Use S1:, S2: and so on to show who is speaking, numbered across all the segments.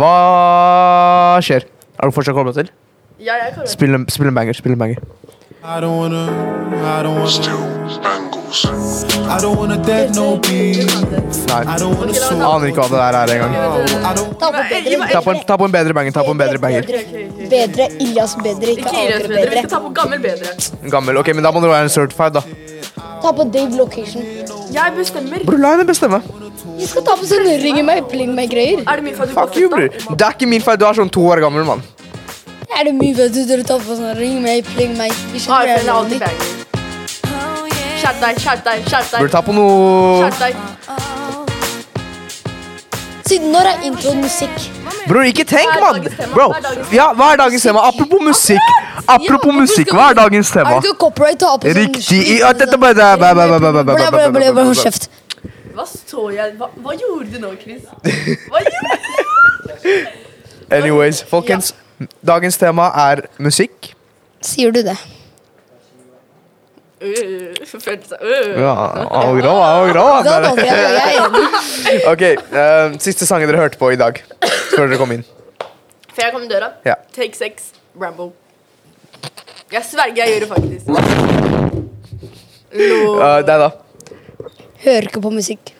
S1: Hva skjer? Er du fortsatt kobla til?
S2: Ja, jeg kan
S1: Spill en, spill en banger. spill en banger
S3: I don't wanna, I don't wanna,
S4: Still angles.
S3: I don't wanna dead no bees.
S1: Nei.
S3: I don't wanna
S2: Okay,
S3: soul.
S1: Aner ikke hva det der er engang.
S3: I don't
S5: Ta på
S2: Gi meg-
S5: bedre.
S1: Ta, på en- ta på en bedre banger. ta på en bedre banger
S2: Ok, ok, ok.
S5: Bedre, Ilias bedre, ikke
S2: Ikke
S5: Agre
S2: idrettsbedre. Vi skal
S5: bedre.
S2: ta på gammel bedre.
S1: Gammel. Ok, men Da må det være en certified, da.
S5: Ta på Dave Location.
S2: Jeg bestemmer.
S1: Bror, la henne bestemme.
S5: Jeg skal ta på sånn ringe meg, pling meg-greier.
S2: Er det min feil at du
S1: Fuck you, bror.
S2: fortsetter?
S1: Det er ikke min feil. Du er sånn to år gammel, mann.
S5: Er det mye bedre dere tar på sånn ring meg, pling meg? Vi
S2: Har
S5: skjønner
S2: jeg en
S5: hva
S2: annen
S5: jeg mener.
S2: banger? Skjerp deg, skjerp deg, skjerp
S1: Burde
S2: deg.
S1: ta på noe
S2: Skjerp deg.
S5: Siden når er introen musikk?
S1: Bror, ikke tenk,
S2: Hva er
S1: mann.
S2: dagens tema?
S1: Bro.
S2: Hva er dagens tema?
S1: Ja, hva er dagens tema? Apropos musikk. Apropos musikk, hva er dagens
S5: Er
S1: tema?
S5: det ikke copyright ta på sånn
S1: Riktig i
S5: slik-
S1: ja, dette bare- bæ, bæ, bæ, bæ, bæ, bæ, bæ,
S5: Blæ, blæ, blæ, blæ, Hold
S1: bæ, bæ.
S5: kjeft.
S2: Hva så jeg? Hva, hva gjorde du nå, Chris? Hva gjorde du?
S1: Anyways, folkens. Dagens tema er musikk.
S5: Sier du det?
S2: Øh, Følte seg øh.
S1: Ja, angra, angra.
S5: Da valgte jeg det. Jeg er enig.
S1: Ok, eh, siste sangen dere hørte på i dag. Før dere kom inn.
S2: Før jeg kom i døra.
S1: Ja.
S2: Take sex, Rambo. Jeg sverger jeg gjør det faktisk. Lo.
S1: Eh, deg, da.
S5: Hører ikke på musikk.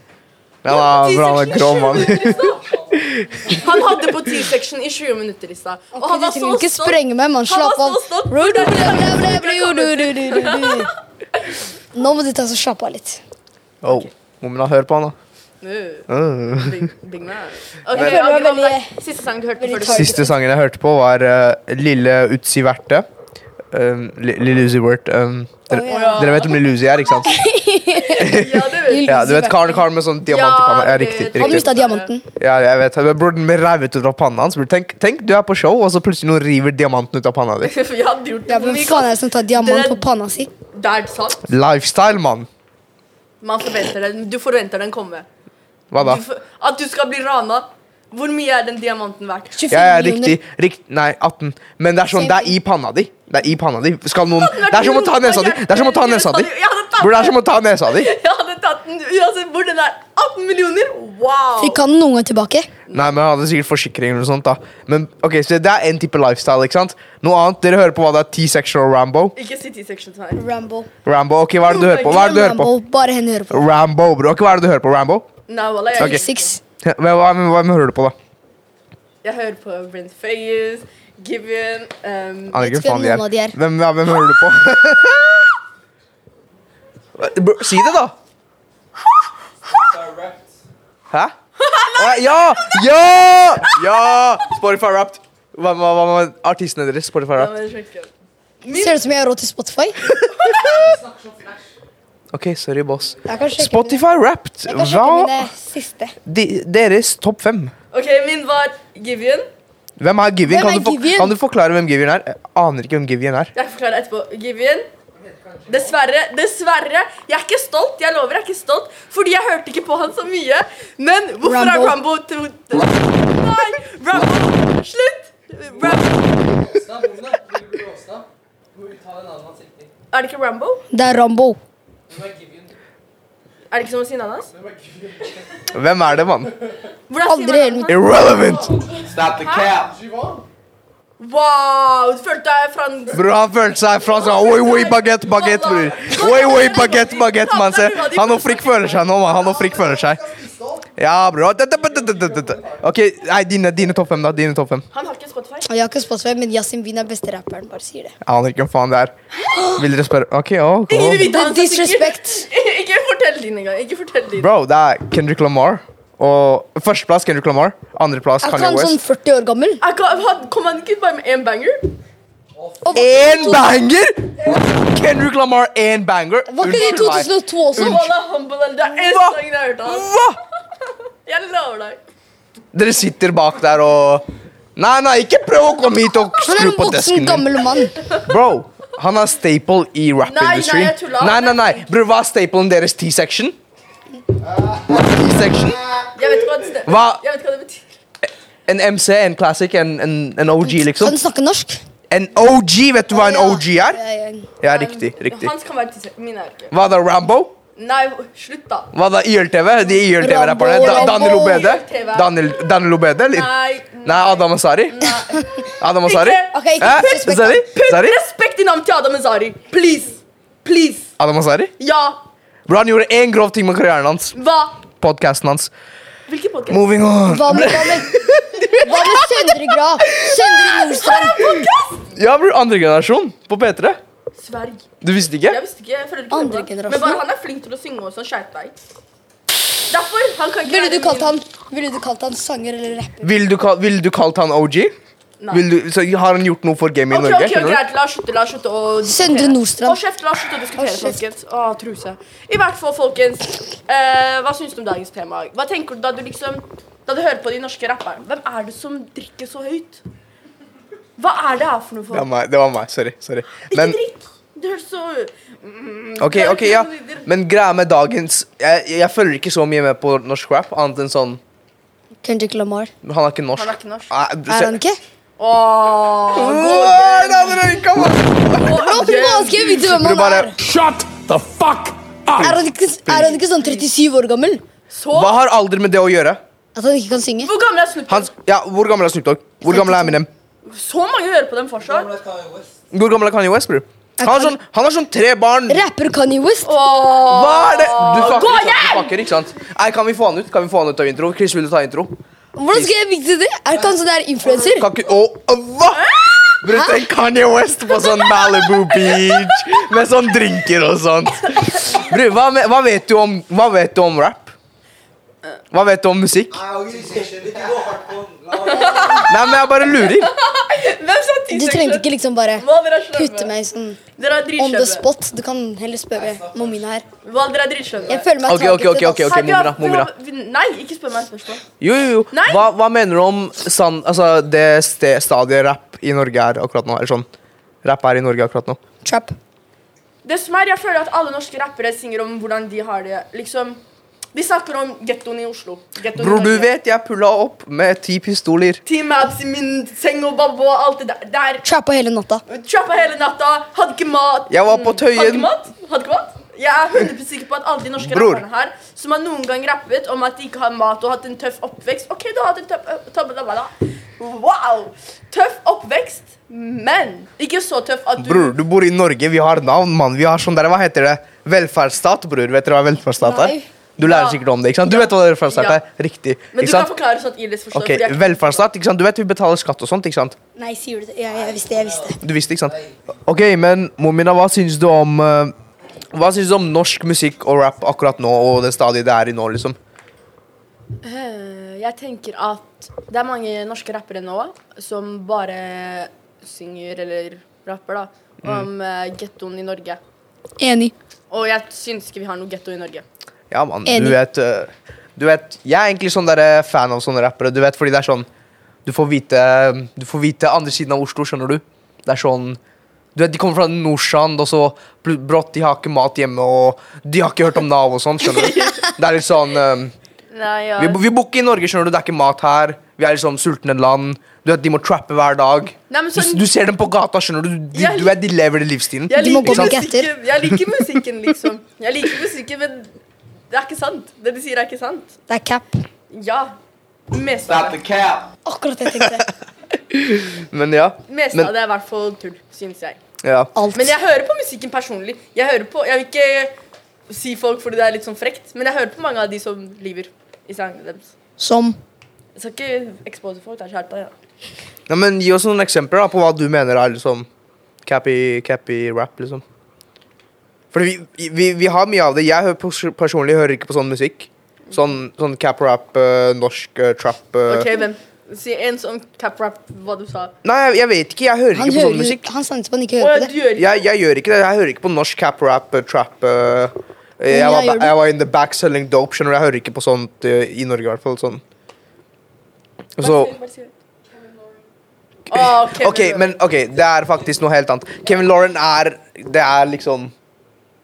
S1: Ja, da, bra, han er grå mann.
S2: Han hadde på T-section i 20 minutter i stad. Og han
S5: Du
S2: var så
S5: trenger ikke
S2: stolt.
S5: sprenge meg, mann.
S2: Han var
S5: Slapp av.
S2: så stolt.
S5: Ro, ro, ro, ro, ro, ro, ro, ro, ro, ro, ro. Nå må du ta så slappe av litt.
S1: Oh, Momina, hør på han, da.
S2: Øh,
S1: Eh.
S2: Big, big man. Ok,
S5: Jeg føler meg
S2: Agnes,
S5: veldig-
S2: Siste sang du hørte på
S5: veldig
S2: før du
S5: tar-
S1: Siste sangen jeg hørte på, var eh, Lille Utsi Verte. Um, Li- Lille Uzi Vert. Um, dere,
S5: Å,
S2: ja.
S1: dere vet hvem Lille Uzi er, ikke sant?
S2: Ja, det vet jeg.
S1: Ja, Du vet karen karen med sånn diamant i panna? Ja,
S2: det-
S1: riktig.
S5: Han
S1: riktig.
S5: mista diamanten.
S1: Ja, jeg vet. Men Bror, den ble revet ut av panna hans. Bror, Tenk, tenk, du er på show, og så plutselig noen river diamanten ut av panna di.
S2: Jeg hadde gjort
S5: Ja,
S2: det.
S5: Hvem faen altså. er det som tar diamant på panna si?
S2: Det er sant.
S1: Lifestyle, mann.
S2: Man forventer den. Du forventer den komme.
S1: Hva da?
S2: Du for, at du skal bli rana. Hvor mye er den diamanten verdt?
S5: 25
S1: Ja, ja,
S5: millioner.
S1: riktig. rikt- nei, 18. Men det er sånn, det er i panna di. Det er i panna di. Skal noen Det er som å ta nesa di. Det er som å ta nesa di.
S2: Jeg hadde tatt
S1: Bror, det er
S2: den.
S1: som å ta nesa di.
S2: Jeg hadde tatt den uansett hvor den er. 18 millioner? Wow!
S5: Fikk han den noen gang tilbake?
S1: Nei, men jeg hadde sikkert forsikring eller noe sånt da Men ok, så det er en type lifestyle, ikke sant? Noe annet, dere hører på hva det er, T-sexual Rambo
S2: Ikke si T-section til meg.
S5: Rambo.
S1: Rambo, ok, hva er det du hører på? Hva er det du hører på?
S5: Rambo, Bare henne hører på.
S1: Oh Rambo, bro, ok, hva er det du hører på, Rambo?
S2: Nei, wallah, jeg,
S1: Ok.
S5: Six.
S1: Hva, hva, hva, hva hører du på da?
S2: jeg hører på Brent Fayez, Given um,
S1: Aner
S5: Vet
S1: ikke
S5: ikke
S1: hvem faen de
S5: hvem noen av de
S1: er
S5: er.
S1: Hvem, ja, hvem hører du på? Bro, si det da Hæ? Å, Ja, ja, ja Spotify Wrapped hva, hva, hva, hva, Artistene deres, Spotify
S2: Ja,
S1: Wrapped
S2: men sjekk det.
S5: Ser ut som jeg har råd til Spotify.
S1: Ok, sorry boss
S5: Jeg kan sjekke
S1: Spotify Wrapped.
S5: mine- Jeg kan sjekke
S1: Hva
S5: mine siste.
S1: de, Deres topp fem.
S2: OK, min var Given.
S1: Hvem er Givian? Kan,
S5: Hvem er
S1: du for-
S5: Givian?
S1: kan du forklare hvem Givian er? Jeg aner ikke hvem Givian er.
S2: Jeg forklarer det etterpå. Given. Dessverre. Dessverre. Jeg er ikke stolt. Jeg lover, jeg er ikke stolt. Fordi jeg hørte ikke på han så mye. Men hvorfor
S5: Rambo.
S2: er Rambo to... Nei! Rambo! Slutt! Rambo. Er det ikke Rambo?
S5: Det er Rambo.
S2: Er det ikke som å si nanas?
S1: Hvem er det, mann?
S2: Hvordan sier man
S5: Aldri i hele
S2: nanas?
S5: mitt-
S1: Irrelevant!
S2: Wow! Du følte deg fransk.
S1: Bro, han følte seg fra sånn Oi, oi, baguette, baguette, bror. Oi, oi, baguette, baguette, mann. Se, han og Frikk føler seg nå, mann. Han og Frikk føler seg. Ja, bro. Ok, nei, dine, dine topp fem, da. Dine topp fem.
S2: Han har ikke Spotify.
S5: Og Jeg har ikke Spotify, men Yasin Wien er beste rapperen. Bare sier det.
S1: Jeg aner ikke hvem faen det er. Vil dere spørre? Ok, ok.
S2: Ingen vil
S5: Det
S2: vite
S5: er
S2: han så sikkert.
S5: disrespect.
S2: Ikke fortell din engang. Ikke fortell din.
S1: Bro, det er Kendrick Lamar. Og Førsteplass Kendrick Lamar. Andreplass
S5: Er ikke
S1: Kanye
S5: han
S1: West.
S5: sånn 40 år gammel?
S2: Jeg kan- han- Kom han ikke ut bare med én banger?
S5: Og
S1: Én banger! Kendrick Lamar, én banger.
S5: Var ikke det i
S1: Unnskyld meg.
S5: 2002 også?
S2: Wallah, humble, det er én
S1: Hva?
S2: sang jeg har hørt av han.
S1: Hva?
S2: Jeg lover deg.
S1: Dere sitter bak der og Nei, nei, ikke prøv å komme hit og
S5: Han er
S1: skru
S5: en
S1: på
S5: voksen,
S1: desken min.
S5: gammel mann.
S1: Bro, han er staple i
S2: Nei, nei, jeg
S1: rap-industrien.
S2: tuller.
S1: Nei, nei, nei. Bror, hva er staplen deres? T-section? T-section?
S2: Jeg vet ikke hva det,
S1: Hva?
S2: Jeg vet ikke hva det betyr.
S1: En MC, en classic, en, en, en OG,
S5: Kan
S1: liksom?
S5: du snakke norsk?
S1: En OG, vet du hva en
S5: Ja.
S1: OG er?
S5: Ja, ja.
S1: Ja, riktig. riktig.
S2: Um, Hans kan være tisse. Min er ikke.
S1: Hva da, Rambo?
S2: Nei, slutt, da.
S1: Hva da? YLTV? De YLTV-rapperne? Da, Daniel Obede? Daniel, Daniel Obede, eller?
S2: Nei.
S1: Nei, Adam Ansari?
S2: Nei.
S1: Adam Ansari? Eh?
S5: Ok, ikke
S1: Hæ?
S5: respekt, da.
S1: Zari?
S2: Putt
S1: Zari?
S2: respekt i navnet til Adam Ansari. Please. Please.
S1: Adam Ansari?
S2: Ja.
S1: Bro, han gjorde én grov ting med karrieren hans.
S2: Hva?
S1: Podkasten hans.
S2: Hvilken podkast?
S1: Moving on.
S5: Hva med, hva med, hva med Søndre Grav? Søndre Nordstrand?
S1: Ja, bro, andre generasjon på P3.
S2: Sverg.
S1: Du visste ikke?
S2: Jeg visste ikke. jeg føler ikke
S5: Andre
S2: det bra.
S5: generasjon.
S2: Men bare han er flink til å synge og sånn. Skjerp deg. Derfor han kan ikke
S5: Ville
S2: være
S5: du kalt
S2: min-
S5: han, ville du kalt han sanger eller rapper?
S1: Vil du, kal vil du kalt han OG?
S2: Nei.
S1: Vil du, så har han gjort noe for gaming i
S2: Ok,
S1: Norge?
S2: ok,
S1: skjønner du?
S2: greit. La oss slutte. La oss slutte å diskutere.
S5: Søndre Nordstrand.
S2: Å, kjeft, la oss slutte å diskutere,
S5: Å, kjeft.
S2: folkens. Å, truse. I hvert fall, folkens. eh, hva syns du om dagens tema? Hva tenker du da du liksom Da du hører på de norske rapperne? Hvem er det som drikker så høyt? Hva er det her for noe?
S1: Det
S2: folk?
S1: var meg. Det var meg. Sorry. sorry.
S2: Ikke
S1: Men,
S2: drikk! Du høres så mm,
S1: ok,
S2: det er
S1: ok, ja.
S2: ikke-
S1: Men greia med dagens Jeg, jeg følger ikke så mye med på norsk rap, annet enn sånn
S5: Kendrick Lamar.
S1: Han er ikke norsk.
S2: Han er ikke norsk.
S1: Nei, du
S5: Er
S1: ser-
S5: han ikke?
S2: Åh, god.
S1: Åh, det hadde røyka, mann!
S5: Bro, du må ikke vite hvem
S1: Du
S5: han
S1: bare
S5: er.
S4: Shut the fuck up!
S5: Er han ikke, er han ikke sånn 37 år gammel?
S2: Så
S1: Hva har alder med det å gjøre?
S5: At han ikke kan synge?
S2: Hvor gammel er Snoop?
S1: Han,
S2: Dogg?
S1: ja, hvor gammel er Snoop Dogg? Hvor gammel er Eminem?
S2: Så mange hører på dem fortsatt.
S1: Hvor gammel er Kanye West, bror? Han har sånn, han har sånn tre barn.
S5: Rapper Kanye West?
S2: Åh,
S1: Hva er det? Du fucker,
S2: Gå
S1: ikke sant?
S2: hjem!
S1: Du fucker, ikke sant? Nei, kan vi få han ut Kan vi få han ut av intro? Chris, vil du ta intro?
S5: Hvordan skal jeg vite det? Er ikke han sånn der influenser?
S1: Kan ikke Åh, åh, hva? Bror, tenk Kanye West på sånn Malibu Beach med sånn drinker og sånt. Bror, hva, me- hva, vet du om- hva vet du om rap? Hva vet du om musikk? Nei, men jeg bare lurer.
S2: Hvem sa
S5: Du trengte ikke liksom bare
S2: Hva, dere er slemme.
S5: putte meg i sånn
S2: Dere er
S5: on the
S2: dritslemme.
S5: spot. Du kan heller spørre Momina her.
S2: Hva, dere er dritslemme.
S5: Jeg føler meg
S1: Ok, ok, ok, ok,
S5: ass.
S1: ok,
S2: Her, vi har-
S1: Momina,
S2: vi
S1: Momina.
S2: har- vi- Nei, ikke spør meg spørsmål.
S1: Jo, jo, jo.
S2: Nei.
S1: Hva, hva mener du om san, altså, det ste, stadiet rap i Norge er akkurat nå? Eller sånn, rap er i Norge akkurat nå.
S5: Trap.
S2: Det som er, jeg føler at alle norske rappere synger om hvordan de har det. Liksom, de snakker om gettoen i Oslo. Ghettoen i
S1: Bror, du
S2: Norge.
S1: vet jeg pulla opp med ti pistoler.
S2: Ti maps i min seng og babbo og alt det der. der.
S5: Trappa hele natta.
S2: Trappa hele natta, hadde ikke mat.
S1: Jeg var på
S2: Mm,
S1: Tøyen.
S2: Hadde ikke mat? Hadde ikke mat? Jeg er 100 sikker på at alle de norske
S1: Bror.
S2: rapperne her som har noen gang rappet om at de ikke har mat og hatt en tøff oppvekst OK, du har hatt en tøff tøff- tøff- tøff- tøff- Wow! Tøff oppvekst, men ikke så tøff at du
S1: Bror, du bor i Norge, vi har navn, mann. Vi har sånn der, hva heter det? Velferdsstat, bror. Vet dere hva velferdsstat er?
S5: Nei.
S1: Du lærer
S2: Ja.
S1: sikkert om det, ikke sant? Du vet hva velferdsstat
S2: Ja.
S1: er? Riktig.
S2: Men
S1: ikke
S2: du kan
S1: sant?
S2: forklare sånn at Ilis forstår.
S1: Ok,
S2: fordi jeg-
S1: velferdsstat, ikke sant? Du vet vi betaler skatt og sånt, ikke sant?
S5: Nei, sier du det? Ja, jeg visste, jeg visste.
S1: Du visste, ikke sant? Ok, men Momina, hva syns du om eh, Hva syns du om norsk musikk og rap akkurat nå, og det stadiet det er i nå, liksom?
S2: Eh, Jeg tenker at det er mange norske rappere nå som bare synger eller rapper da om mm. gettoen i Norge.
S5: Enig.
S2: Og jeg syns ikke vi har noe getto i Norge.
S1: Ja, mann.
S5: Enig.
S1: Du vet eh, Du vet Jeg er egentlig sånn derre fan av sånne rappere, du vet, fordi det er sånn Du får vite Du får vite andre siden av Oslo, skjønner du? Det er sånn du vet, De kommer fra Nordsand, og så bl- brått De har ikke mat hjemme, og de har ikke hørt om Nav og sånn, skjønner du? Det er litt sånn eh,
S2: Nei, ja.
S1: Vi, vi bor ikke i Norge, skjønner du. Det er ikke mat her. Vi er liksom sultne land. Du vet, De må trappe hver dag.
S2: Nei, men sånn-
S1: du, du ser dem på gata, skjønner du. De,
S2: Jeg-
S1: du vet, de lever den livsstilen.
S2: jeg
S5: De må
S2: liker
S5: gå på
S2: musikken, jeg liker musikken, liksom. Jeg liker musikken, men det er ikke sant. Det de sier, er ikke sant.
S5: Det er cap.
S2: Ja. Meste av det,
S5: Akkurat det jeg tenkte.
S1: Men ja.
S2: meste
S1: Men-
S2: av det er i hvert fall tull, syns jeg.
S1: ja.
S5: Alt.
S2: Men jeg hører på musikken personlig. Jeg hører på, jeg vil ikke si folk fordi det er litt sånn frekt, men jeg hører på mange av de som lyver i sangene deres.
S5: Som
S2: Jeg skal ikke expose folk. Det er skjerpa, ja.
S1: Ja, men Gi oss noen eksempler da, på hva du mener er liksom cappy, cappy rap. liksom. Fordi vi, vi, vi har mye av det. Jeg hører pers- personlig hører ikke på sånn musikk. Sånn, sånn cap rap, øh, norsk øh, trap øh.
S2: OK, hvem? Si en sånn cap-rap, hva du sa.
S1: Nei, jeg, jeg vet ikke. Jeg hører
S5: Han
S1: ikke på
S5: hører
S1: sånn
S5: jo
S1: musikk.
S5: Han sannhet på han ikke
S2: Å,
S5: hører
S2: ja, du
S5: på det.
S2: gjør ikke
S1: Jeg, jeg gjør ikke det. Jeg hører ikke på norsk cap rap, øh, trap. øh. Jeg,
S5: Ja,
S1: var,
S5: gjør du?
S1: jeg var in the back selling dope. skjønner du? Jeg hører ikke på sånt øh, i Norge, i hvert fall. sånn.
S2: Bare
S1: Så,
S2: si- bare si det. Å, Kevin
S1: Ok,
S2: Lauren.
S1: men ok, det er faktisk noe helt annet. Kevin Lauren er Det er liksom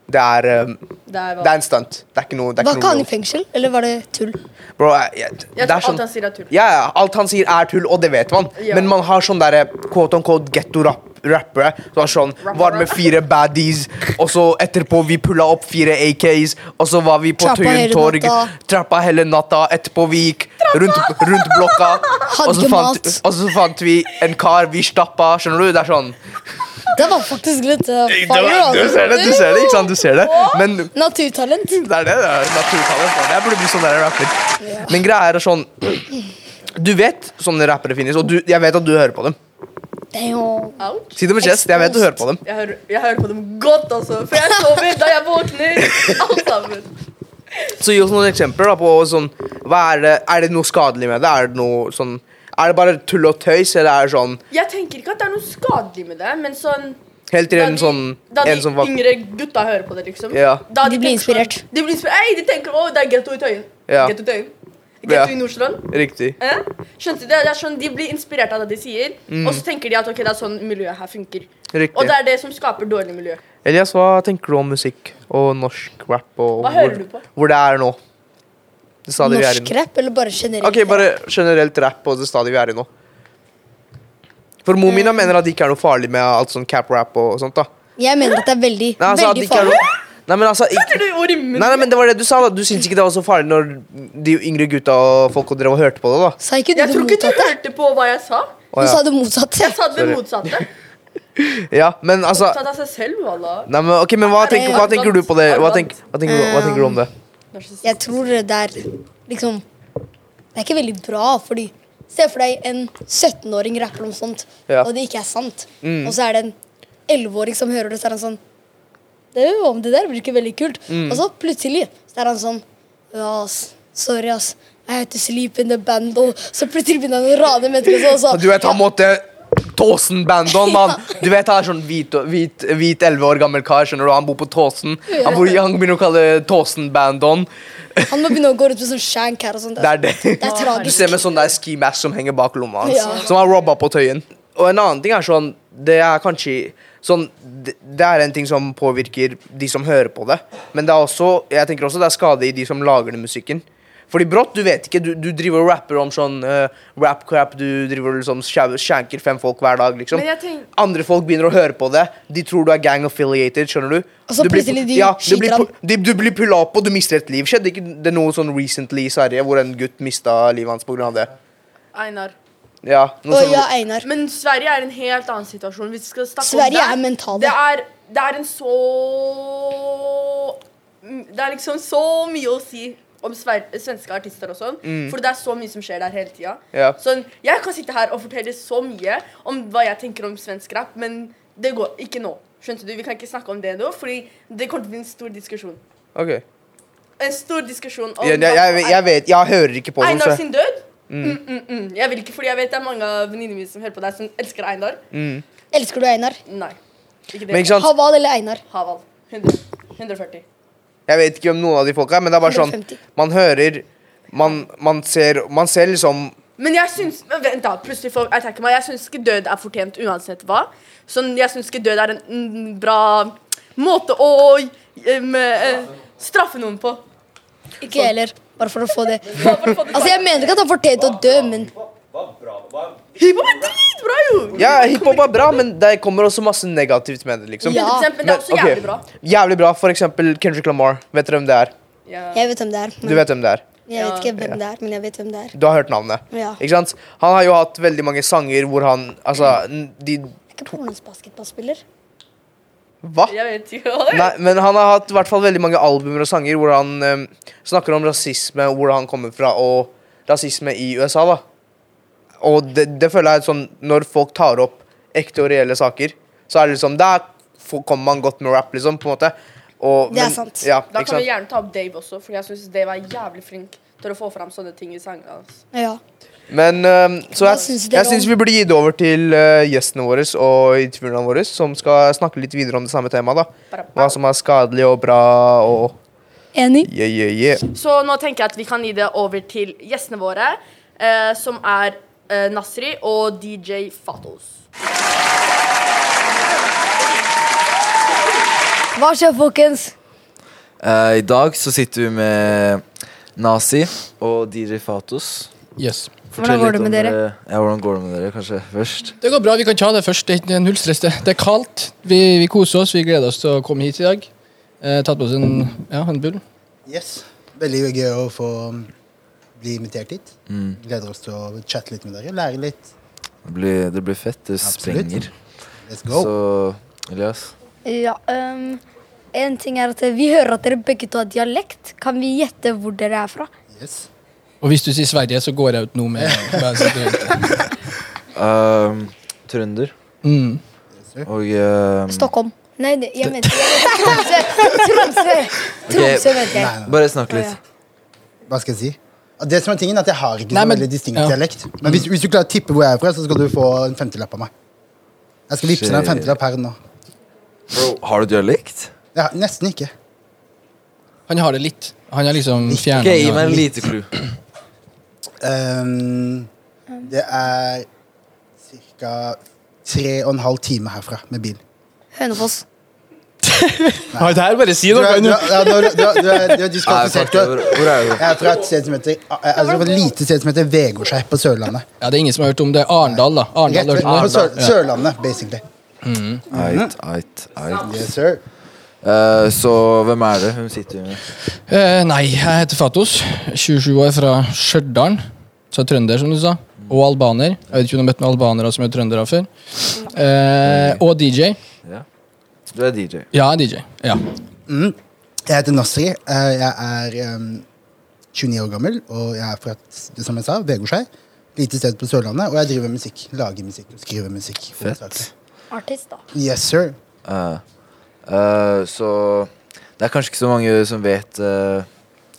S1: Det er um,
S2: Det er hva-
S1: Det er en stunt. Det er ikke noe, det er
S5: Var ikke
S1: ikke
S5: han i
S1: noe
S5: fengsel, eller var det tull?
S1: Bro, jeg, jeg,
S2: Jeg
S1: det er
S2: tror alt
S1: sånn
S2: han sier, er tull.
S1: ja, ja, alt han sier er tull, og det vet man.
S2: Ja.
S1: Men man har sånn derre quote on quote getto-rapp rappere. Så var det sånn, var med fire baddies, og så etterpå vi pulla opp fire AKs, og så var vi på
S5: Trappa hele
S1: Tøyentorg.
S5: natta.
S1: Trappa hele natta. Etterpå vi gikk rundt, rundt blokka,
S5: Hadde
S1: og så, fant,
S5: mat.
S1: og så fant vi en kar vi stappa. Skjønner du? Det er sånn.
S5: Det var faktisk litt eh, fire,
S1: Du
S5: altså.
S1: ser det, du ser det, ikke sant? Du ser det. Men
S5: Naturtalent.
S1: det er det. det er naturtalent. Jeg burde bli sånn der rapper. Men greia er sånn Du vet sånne rappere finnes, og du, jeg vet at du hører på dem.
S5: Damn.
S2: Ouch.
S1: Si det med chest. Jeg vet du hører på dem.
S2: Jeg hører, jeg hører på dem godt, altså. For jeg sover da jeg våkner. Alt sammen.
S1: Så gi oss noen eksempler da på sånn hva er, det, er det noe skadelig med det? Er det noe sånn Er det bare tull og tøys, eller er det sånn
S2: Jeg tenker ikke at det er noe skadelig med det, men sånn
S1: Helt til
S2: Da
S1: en
S2: de-
S1: sånn
S2: Da de
S1: En som var
S2: yngre gutta hører på det, liksom.
S1: Ja.
S2: Da
S5: De blir
S2: tenker sånn-
S5: inspirert.
S2: De blir inspirert. Ei, de tenker 'Å, det er getto i Tøyen'.
S1: Ja.
S2: Getto i Tøyen.
S1: Ja.
S2: Getto i Nordstrand.
S1: Riktig.
S2: Eh? Skjønte du det? det er sånn, de blir inspirert av det de sier,
S1: Mm.
S2: og så tenker de at ok, det er sånn miljøet her funker. Og det
S1: Riktig.
S2: er det som skaper dårlig miljø.
S1: Elias, hva tenker du om musikk og norsk rap og
S2: Hva
S1: hvor,
S2: hører du på?
S1: hvor det er nå? Det stadiet vi er i nå.
S5: Norsk rap, eller bare generelt?
S1: Ok, bare generelt rap på det stadiet vi er i nå. For mor mina mener at det ikke er noe farlig med alt sånn cap-rap og sånt. da
S5: Jeg mener at det er veldig,
S1: Nei, altså, at det
S5: veldig
S1: ikke er
S5: farlig.
S1: noe... Nei, men altså ikke...
S2: Hørte du ordet i munnen?
S1: Nei, nei, men det var det du sa, da. Du syntes ikke det var så farlig når de yngre gutta og folk og drev og hørte på det, da.
S5: Sa ikke du
S2: jeg
S5: det
S2: tror ikke du
S5: motsatte?
S2: hørte på hva jeg sa.
S1: Å,
S5: Du
S1: ja.
S5: sa det motsatte.
S2: Jeg sa det
S1: Sorry.
S2: motsatte.
S1: ja, men altså
S2: Opptatt av seg selv, wallah.
S1: Nei, men ok, men hva tenker, hva tenker du på det? Hva, tenk, hva, tenker, du- hva tenker du om det?
S2: Narsissist.
S5: Jeg tror det er liksom Det er ikke veldig bra, fordi Se for deg en 17-åring rapper om sånt,
S1: Ja. Mm.
S5: og det ikke er sant. Og så er det en 11-åring som hører det, så er han sånn Det er jo om det der blir ikke veldig kult.
S1: Mm.
S5: Og så plutselig så er han sånn Ja, ass. Sorry, ass. Jeg heter Sleep in the Band, og så plutselig begynner han å rane mennesker. og Så, og så,
S1: Du vet, han måtte Tåsen Bandon, mann. Du vet, han er sånn hvit, hvit, hvit 11 år gammel kar, skjønner du. Han bor på Tåsen. Han, bor, han begynner å kalle det Tåsen Bandon.
S5: Han må begynne å gå rundt med sånn shank her og sånt.
S1: Det er det.
S5: Det er
S1: Du
S5: tragisk.
S1: ser med sånn der ski mask som henger bak lomma hans.
S5: Ja.
S1: Som har robba på tøyen. Og en annen ting er sånn Det er kanskje sånn Det det er en ting som påvirker de som hører på det. Men det er også Jeg tenker også det er skade i de som lager den musikken. Fordi brått, du vet ikke. Du, du driver og rapper om sånn eh, rap-crap. Du driver og liksom sjau- shanker fem folk hver dag, liksom.
S2: Men jeg tenk-
S1: Andre folk begynner å høre på det. De tror du er gang affiliated, skjønner du.
S5: Og så
S1: du blir-
S5: plutselig de
S1: du blir,
S5: skyter han.
S1: pu- de, du blir pulla opp, og du mister et liv. Skjedde ikke det noe sånn recently i Sverige hvor en gutt mista livet hans pga. det?
S2: Einar.
S1: Ja, noe
S5: Og
S1: sånn,
S5: ja, Einar.
S2: Men Sverige er en helt annen situasjon. Hvis vi skal snakke
S5: Sverige
S2: om
S5: er
S2: det.
S5: mentale.
S2: Det er, det er en så Det er liksom så mye å si om sver svenske artister og sånn. For det er så mye som skjer der hele tida.
S1: Mm. Ja.
S2: Sånn, jeg kan sitte her og fortelle så mye om hva jeg tenker om svensk rap, men det går ikke nå. Skjønte du? Vi kan ikke snakke om det nå, Fordi det kommer til å bli en stor diskusjon.
S1: Ok.
S2: En stor diskusjon om
S1: Jeg, jeg, jeg, jeg vet Jeg hører ikke på sånn,
S2: Einar
S1: så jeg-
S2: sin død? Mm, mm, mm. Jeg vil ikke, fordi jeg vet det er mange av venninnene mine som hører på deg, som elsker Einar.
S5: Elsker du Einar?
S2: Nei. Ikke det.
S1: Men ikke sant?
S5: Haval eller Einar?
S2: Haval. 100. 140.
S1: Jeg vet ikke om noen av de folka er, men det er bare sånn
S5: 150.
S1: Man hører Man, man, ser, man ser liksom
S2: Men jeg syns men Vent, da. Plutselig folk attacker meg. Jeg syns ikke død er fortjent uansett hva. Sånn, jeg syns ikke død er en mm, bra måte å em, eh, straffe noen på.
S5: Ikke jeg heller. Bare for å få det.
S2: Bare for å få det
S5: Altså, jeg mener ikke at han fortjente å dø, men
S2: Hiphop er dritbra, jo!
S1: Ja, hiphop er bra, men det kommer også masse negativt med det, liksom.
S5: Ja.
S2: 100%, men det er også
S1: ok.
S2: jævlig bra.
S1: Jævlig bra. For eksempel Kendrick Lamar. Vet dere hvem det er?
S2: Ja.
S5: jeg vet hvem det er.
S1: Du
S5: Men
S1: vet hvem det er?
S5: jeg vet
S2: Ja.
S5: ikke hvem det er, men jeg vet hvem det er.
S1: Du har hørt navnet?
S5: Ja.
S1: Ikke sant? Han har jo hatt veldig mange sanger hvor han Altså, n- de
S5: Er ikke broren hans basketballspiller?
S1: Hva?
S2: Jeg vet ikke hva det er.
S1: Nei, men han har hatt i hvert fall veldig mange albumer og sanger hvor han eh, snakker om rasisme, hvor han kommer fra, og rasisme i USA, da. Og det, det føler jeg er sånn Når folk tar opp ekte og reelle saker, så er det liksom Der får- kommer man godt med rap, liksom, på en måte. Og,
S5: Det er sant.
S1: Ja,
S2: Da
S1: ikke
S2: kan
S1: sant?
S2: vi gjerne ta opp Dave også, Fordi jeg syns Dave er jævlig flink til å få fram sånne ting i sangene hans.
S5: Ja.
S1: Men eh, Så
S5: Hva
S1: jeg,
S5: syns dere
S1: jeg syns
S5: om-
S1: vi burde gi det over til eh, gjestene våre og intervjuerne våre, som skal snakke litt videre om det samme temaet, da. Hva som er skadelig og bra og
S5: Enig.
S1: yeah, yeah, yeah.
S2: Så nå tenker jeg at vi kan gi det over til gjestene våre, eh, som er eh, Nasri og DJ Fatos.
S5: Hva skjer, folkens?
S6: Eh, I dag så sitter vi med Nazi og DJ Fatos. Eh,
S4: Yes.
S5: Hvordan går det med dere?
S6: Ja, hvordan går det med dere, kanskje først?
S7: Det går bra, vi kan ta det først. Det er null stress. Det Det er kaldt. Vi, vi koser oss. Vi gleder oss til å komme hit i dag. Eh, tatt på oss en, ja, en bull.
S8: Yes. Veldig gøy å få um, bli invitert hit.
S6: Mm.
S8: Gleder oss til å chatte litt med dere, lære litt.
S6: Det blir, det blir fett. Det
S8: Absolutt.
S6: sprenger.
S8: Let's go.
S6: Så Elias,
S9: Ja, ehm, en ting er at vi hører at dere begge to har dialekt. Kan vi gjette hvor dere er fra?
S8: Yes.
S7: Og hvis du sier Sverige, så går jeg ut nå med bare så du vet det.
S6: ehm, trønder
S7: mm.
S6: og ehm,
S5: Stockholm.
S9: Nei, det, jeg mente jeg mente Tromsø. Tromsø, Tromsø mente jeg.
S6: Bare snakk litt.
S8: Hva skal jeg si? Det som er tingen er at Jeg har ikke så
S7: Nei, men-
S8: veldig distinkt
S7: ja.
S8: dialekt. Men hvis, hvis du klarer å tippe hvor jeg er fra, så skal du få en femtilapp av meg. Jeg skal vippse deg en
S6: Shit.
S8: femtilapp her nå.
S6: Bro, har du dialekt?
S8: Ja, nesten ikke.
S7: Han har det litt. Han har liksom fjerna
S6: Ok, Gi meg en lite clue.
S8: Ehm, det er ca. tre og en halv time herfra med bil.
S5: Hønefoss.
S7: Nei, det her bare si
S8: Du
S7: noe.
S8: er,
S7: kan
S8: du
S7: du-
S8: er, ja, nå- du er, du er, du er
S6: Nei, fuck
S8: diskvalifisert.
S6: det. Hvor
S8: du er-
S6: hvor er du?
S8: Jeg er fra et sted som heter eh, altså fra et lite sted som heter Vegårshei på Sørlandet.
S7: Ja, det er ingen som har hørt om det. Arendal, da.
S8: Rett
S7: Arendal
S8: ved,
S7: har hørt
S8: på
S7: om
S8: Sør,
S7: det. Ja.
S8: Sørlandet, basically.
S6: Eit, eit, eit.
S8: Mm. Yes, sir.
S6: Eh, så hvem er det hun sitter med?
S7: Eh, nei, jeg heter Fatos. 27 år fra Stjørdal. Så er trønder, som du sa. Og albaner. Jeg vet ikke om du har møtt noen albanere som er trøndere før. Eh, og DJ.
S6: Ja. Du er DJ.
S7: Ja, DJ. Ja.
S8: Mm. Jeg heter Nasri. Eh, Jeg er ehm, 29 år gammel, og jeg er fra et- som jeg sa, Vegårshei. Lite sted på Sørlandet, og jeg driver med musikk. Lager musikk og skriver musikk.
S6: Fett.
S9: Artist, da.
S8: Yes, sir.
S6: Eh, eh, så Det er kanskje ikke så mange som vet eh,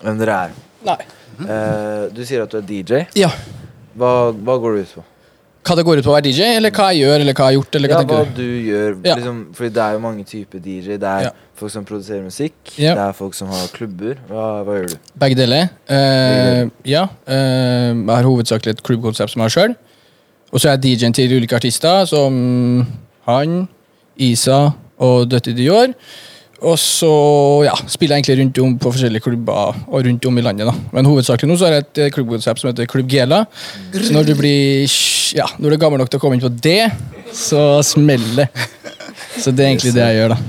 S6: hvem dere er.
S7: Nei.
S6: Eh, du sier at du er DJ.
S7: Ja.
S6: Hva, hva går det ut på?
S7: Hva det går ut på å være DJ, eller hva jeg gjør, eller hva jeg har gjort, eller hva
S6: Ja, hva
S7: tenker du?
S6: du gjør.
S7: Ja.
S6: Liksom, fordi det er jo mange typer DJ. Det er
S7: Ja.
S6: folk som produserer musikk.
S7: Ja.
S6: Det er folk som har klubber. Hva, hva gjør du?
S7: Begge deler. Eh, ja. Eh, jeg har hovedsakelig et klubbkonsept som jeg har sjøl. Og så er jeg DJ-en til ulike artister, som han, Isa og Dutty Dior. Og så ja, spiller jeg egentlig rundt om på forskjellige klubber og rundt om i landet. da. Men hovedsakelig nå så har jeg et eh, klubbkonsept som heter Klubb Gela. Så når du blir ja, når du er gammel nok til å komme inn på det, så smeller det. Så det er egentlig det jeg gjør, da.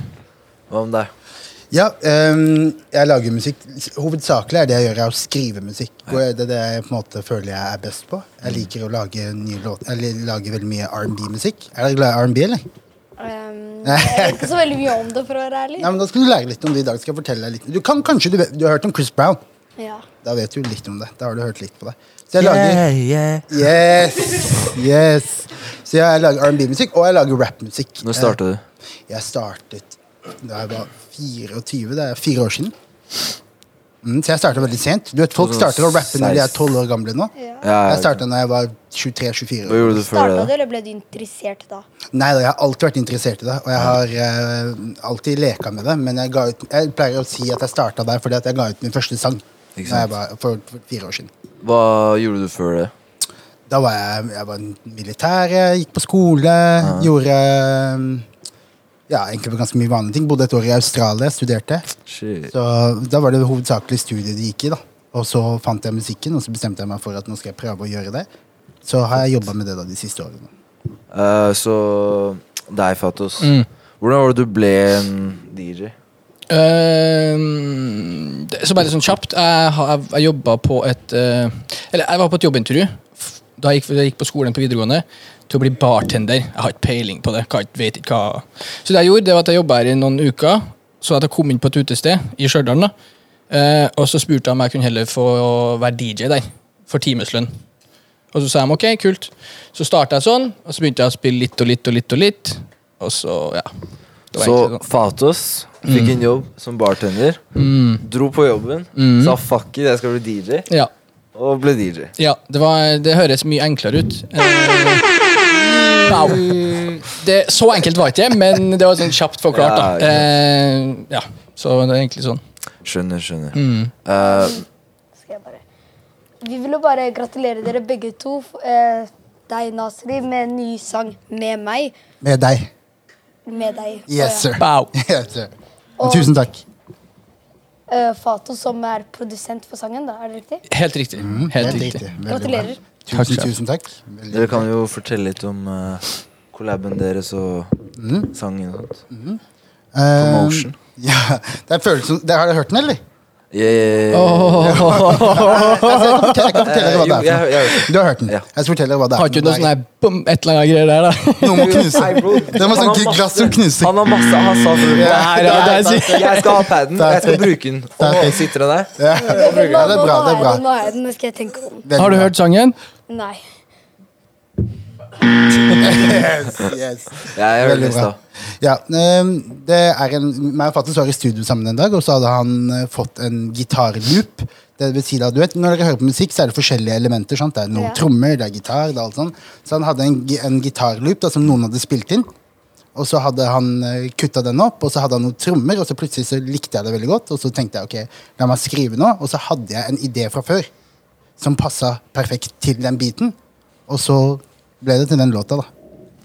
S6: Hva om deg?
S8: Ja, ehm, jeg lager musikk. Hovedsakelig er det jeg gjør, er å skrive musikk. Og det er det jeg på en måte føler jeg er best på. Jeg liker å lage nye låter, eller lage veldig mye R&B-musikk. Er dere glad i R&B, eller?
S9: Ehm, jeg vet ikke så veldig mye om det, for å være ærlig.
S8: Nei, men Da skal du lære litt om det i dag. skal jeg fortelle deg litt. Du kan kanskje, du, vet, du har hørt om Chris Brown.
S9: Ja.
S8: Da vet du litt om det. Da har du hørt litt på det. Så jeg lager Yes! Yes! Så jeg lager R&B-musikk, og jeg lager rap-musikk.
S6: Når starta du?
S8: Eh, Jeg startet da jeg var 24. Det er fire år siden. Mm, så jeg starta veldig sent. Du vet, Folk starter å rappe når de er 12 år gamle nå.
S6: Ja,
S8: Jeg starta da jeg var 23-24
S6: Hva
S8: år.
S6: gjorde du før
S9: Starta
S6: det?
S9: du, eller ble du interessert da?
S8: Nei, da, jeg har alltid vært interessert i det, og jeg har eh, alltid leka med det. Men jeg, ga ut, jeg pleier å si at jeg starta der fordi at jeg ga ut min første sang da
S6: Ikke sant.
S8: jeg var, for, for fire år siden.
S6: da? Hva gjorde du før det?
S8: Da var jeg, jeg var militær, jeg gikk på skole, gjorde um, ja, egentlig ganske mye vanlige ting. Bodde et år i Australia, studerte.
S6: Shit.
S8: Så da var det hovedsakelig studiet det gikk i. da. Og så fant jeg musikken, og så bestemte jeg meg for at nå skal jeg prøve å gjøre det. Så har jeg jobba med det da de siste årene.
S6: Eh, så deg, Fatos.
S7: Mm.
S6: Hvordan var det du ble en DJ?
S7: Ehm, det- så bare sånn kjapt Jeg, har- jeg, jeg jobba på et eh, Eller jeg var på et jobbintervju f- da jeg, gikk, da jeg gikk på skolen på videregående, til å bli bartender. Jeg har ikke peiling på det. Kan, ikke- vet ikke hva Så det jeg gjorde, det var at jeg jobba her i noen uker. Så at jeg kom inn på et utested i Stjørdal. da. Eh, og så spurte jeg om jeg kunne heller få være DJ der, for timeslønn. Og så sa de ok, kult. Så starta jeg sånn, og så begynte jeg å spille litt og litt og litt. Og litt Og så, ja. Det var
S6: Så
S7: egentlig sånn.
S6: Fatos fikk
S8: Mm.
S6: en jobb som bartender. Dro på jobben,
S8: Mm.
S6: sa fuck it, jeg skal bli DJ,
S7: Ja.
S6: og ble DJ.
S7: Ja, det, var, det høres mye enklere ut. Eh, wow. Det, så enkelt var ikke det, men det var sånn kjapt forklart.
S6: Ja,
S7: da.
S6: ikke
S7: Eh, ja, Så det er egentlig sånn.
S6: Skjønner, skjønner.
S7: Mm.
S6: Eh,
S9: Skal jeg bare... Vi ville bare gratulere dere begge to, f- eh, deg, Nasri, med en ny sang med meg.
S8: Med deg.
S9: Med deg. Så
S8: Yes,
S9: ja.
S8: sir.
S7: Wow.
S8: Yes, sir.
S9: Og-
S8: Tusen takk.
S9: Eh, Fato, som er produsent for sangen, da, er det riktig?
S7: Helt riktig. Helt
S8: Helt
S7: riktig.
S8: Mm,
S6: Mm,
S8: riktig. Veldig bra.
S9: Gratulerer.
S7: Takk,
S8: Tusen,
S7: sjef.
S8: tusen takk.
S6: Dere kan jo fortelle litt om uh, collaben deres og
S8: Mhm.
S6: sangen og sånt.
S8: Promotion.
S6: Promotion.
S8: Um, ja, det er følelsen det, Har dere hørt den, eller?
S6: Yeah.
S8: Altså, jeg kan fortelle, jeg kan fortelle dere hva det
S6: Eh, jo, jeg- jeg har hørt
S8: er. for noe. Du har hørt den.
S6: Ja.
S8: Jeg skal fortelle dere hva det er.
S7: Har ikke
S8: for
S7: du noe
S8: noe.
S7: sånn her bom, et eller annet greier der, da?
S8: Noen må knuse.
S6: Nei, bro.
S8: Det må
S6: Han
S8: sånn
S6: har masse-
S8: glass som knuser.
S6: Han har masse Han sa til meg,
S7: Nei, det er- det er
S6: "Nei, Jeg skal ha paden, og jeg skal bruke den.
S8: er
S6: Og
S8: fint.
S6: sitter den der.
S8: Ja, ja, det er bra. det er bra.
S9: Nå har jeg den, nå har jeg den, nå skal jeg tenke om den.
S8: Veldig
S7: Har du
S8: bra.
S7: hørt sangen?
S9: Nei.
S8: Yes, yes.
S6: Ja, jeg hørte
S8: Veldig
S6: det i
S8: bra.
S6: stad.
S8: Ja, ehm, det er en, meg og Fattes var i studio sammen en dag, og så hadde han eh, fått en gitarloop. Det vil si da, du vet, Når dere hører på musikk, så er det forskjellige elementer. sant? Det er noen
S9: Ja.
S8: trommer, det er gitar, det er alt sånn. Så han hadde en, gi- en gitarloop da, som noen hadde spilt inn. Og så hadde han eh, kutta den opp, og så hadde han noen trommer, og så plutselig så likte jeg det veldig godt. Og så tenkte jeg ok, la meg skrive nå, og så hadde jeg en idé fra før som passa perfekt til den biten. Og så ble det til den låta, da.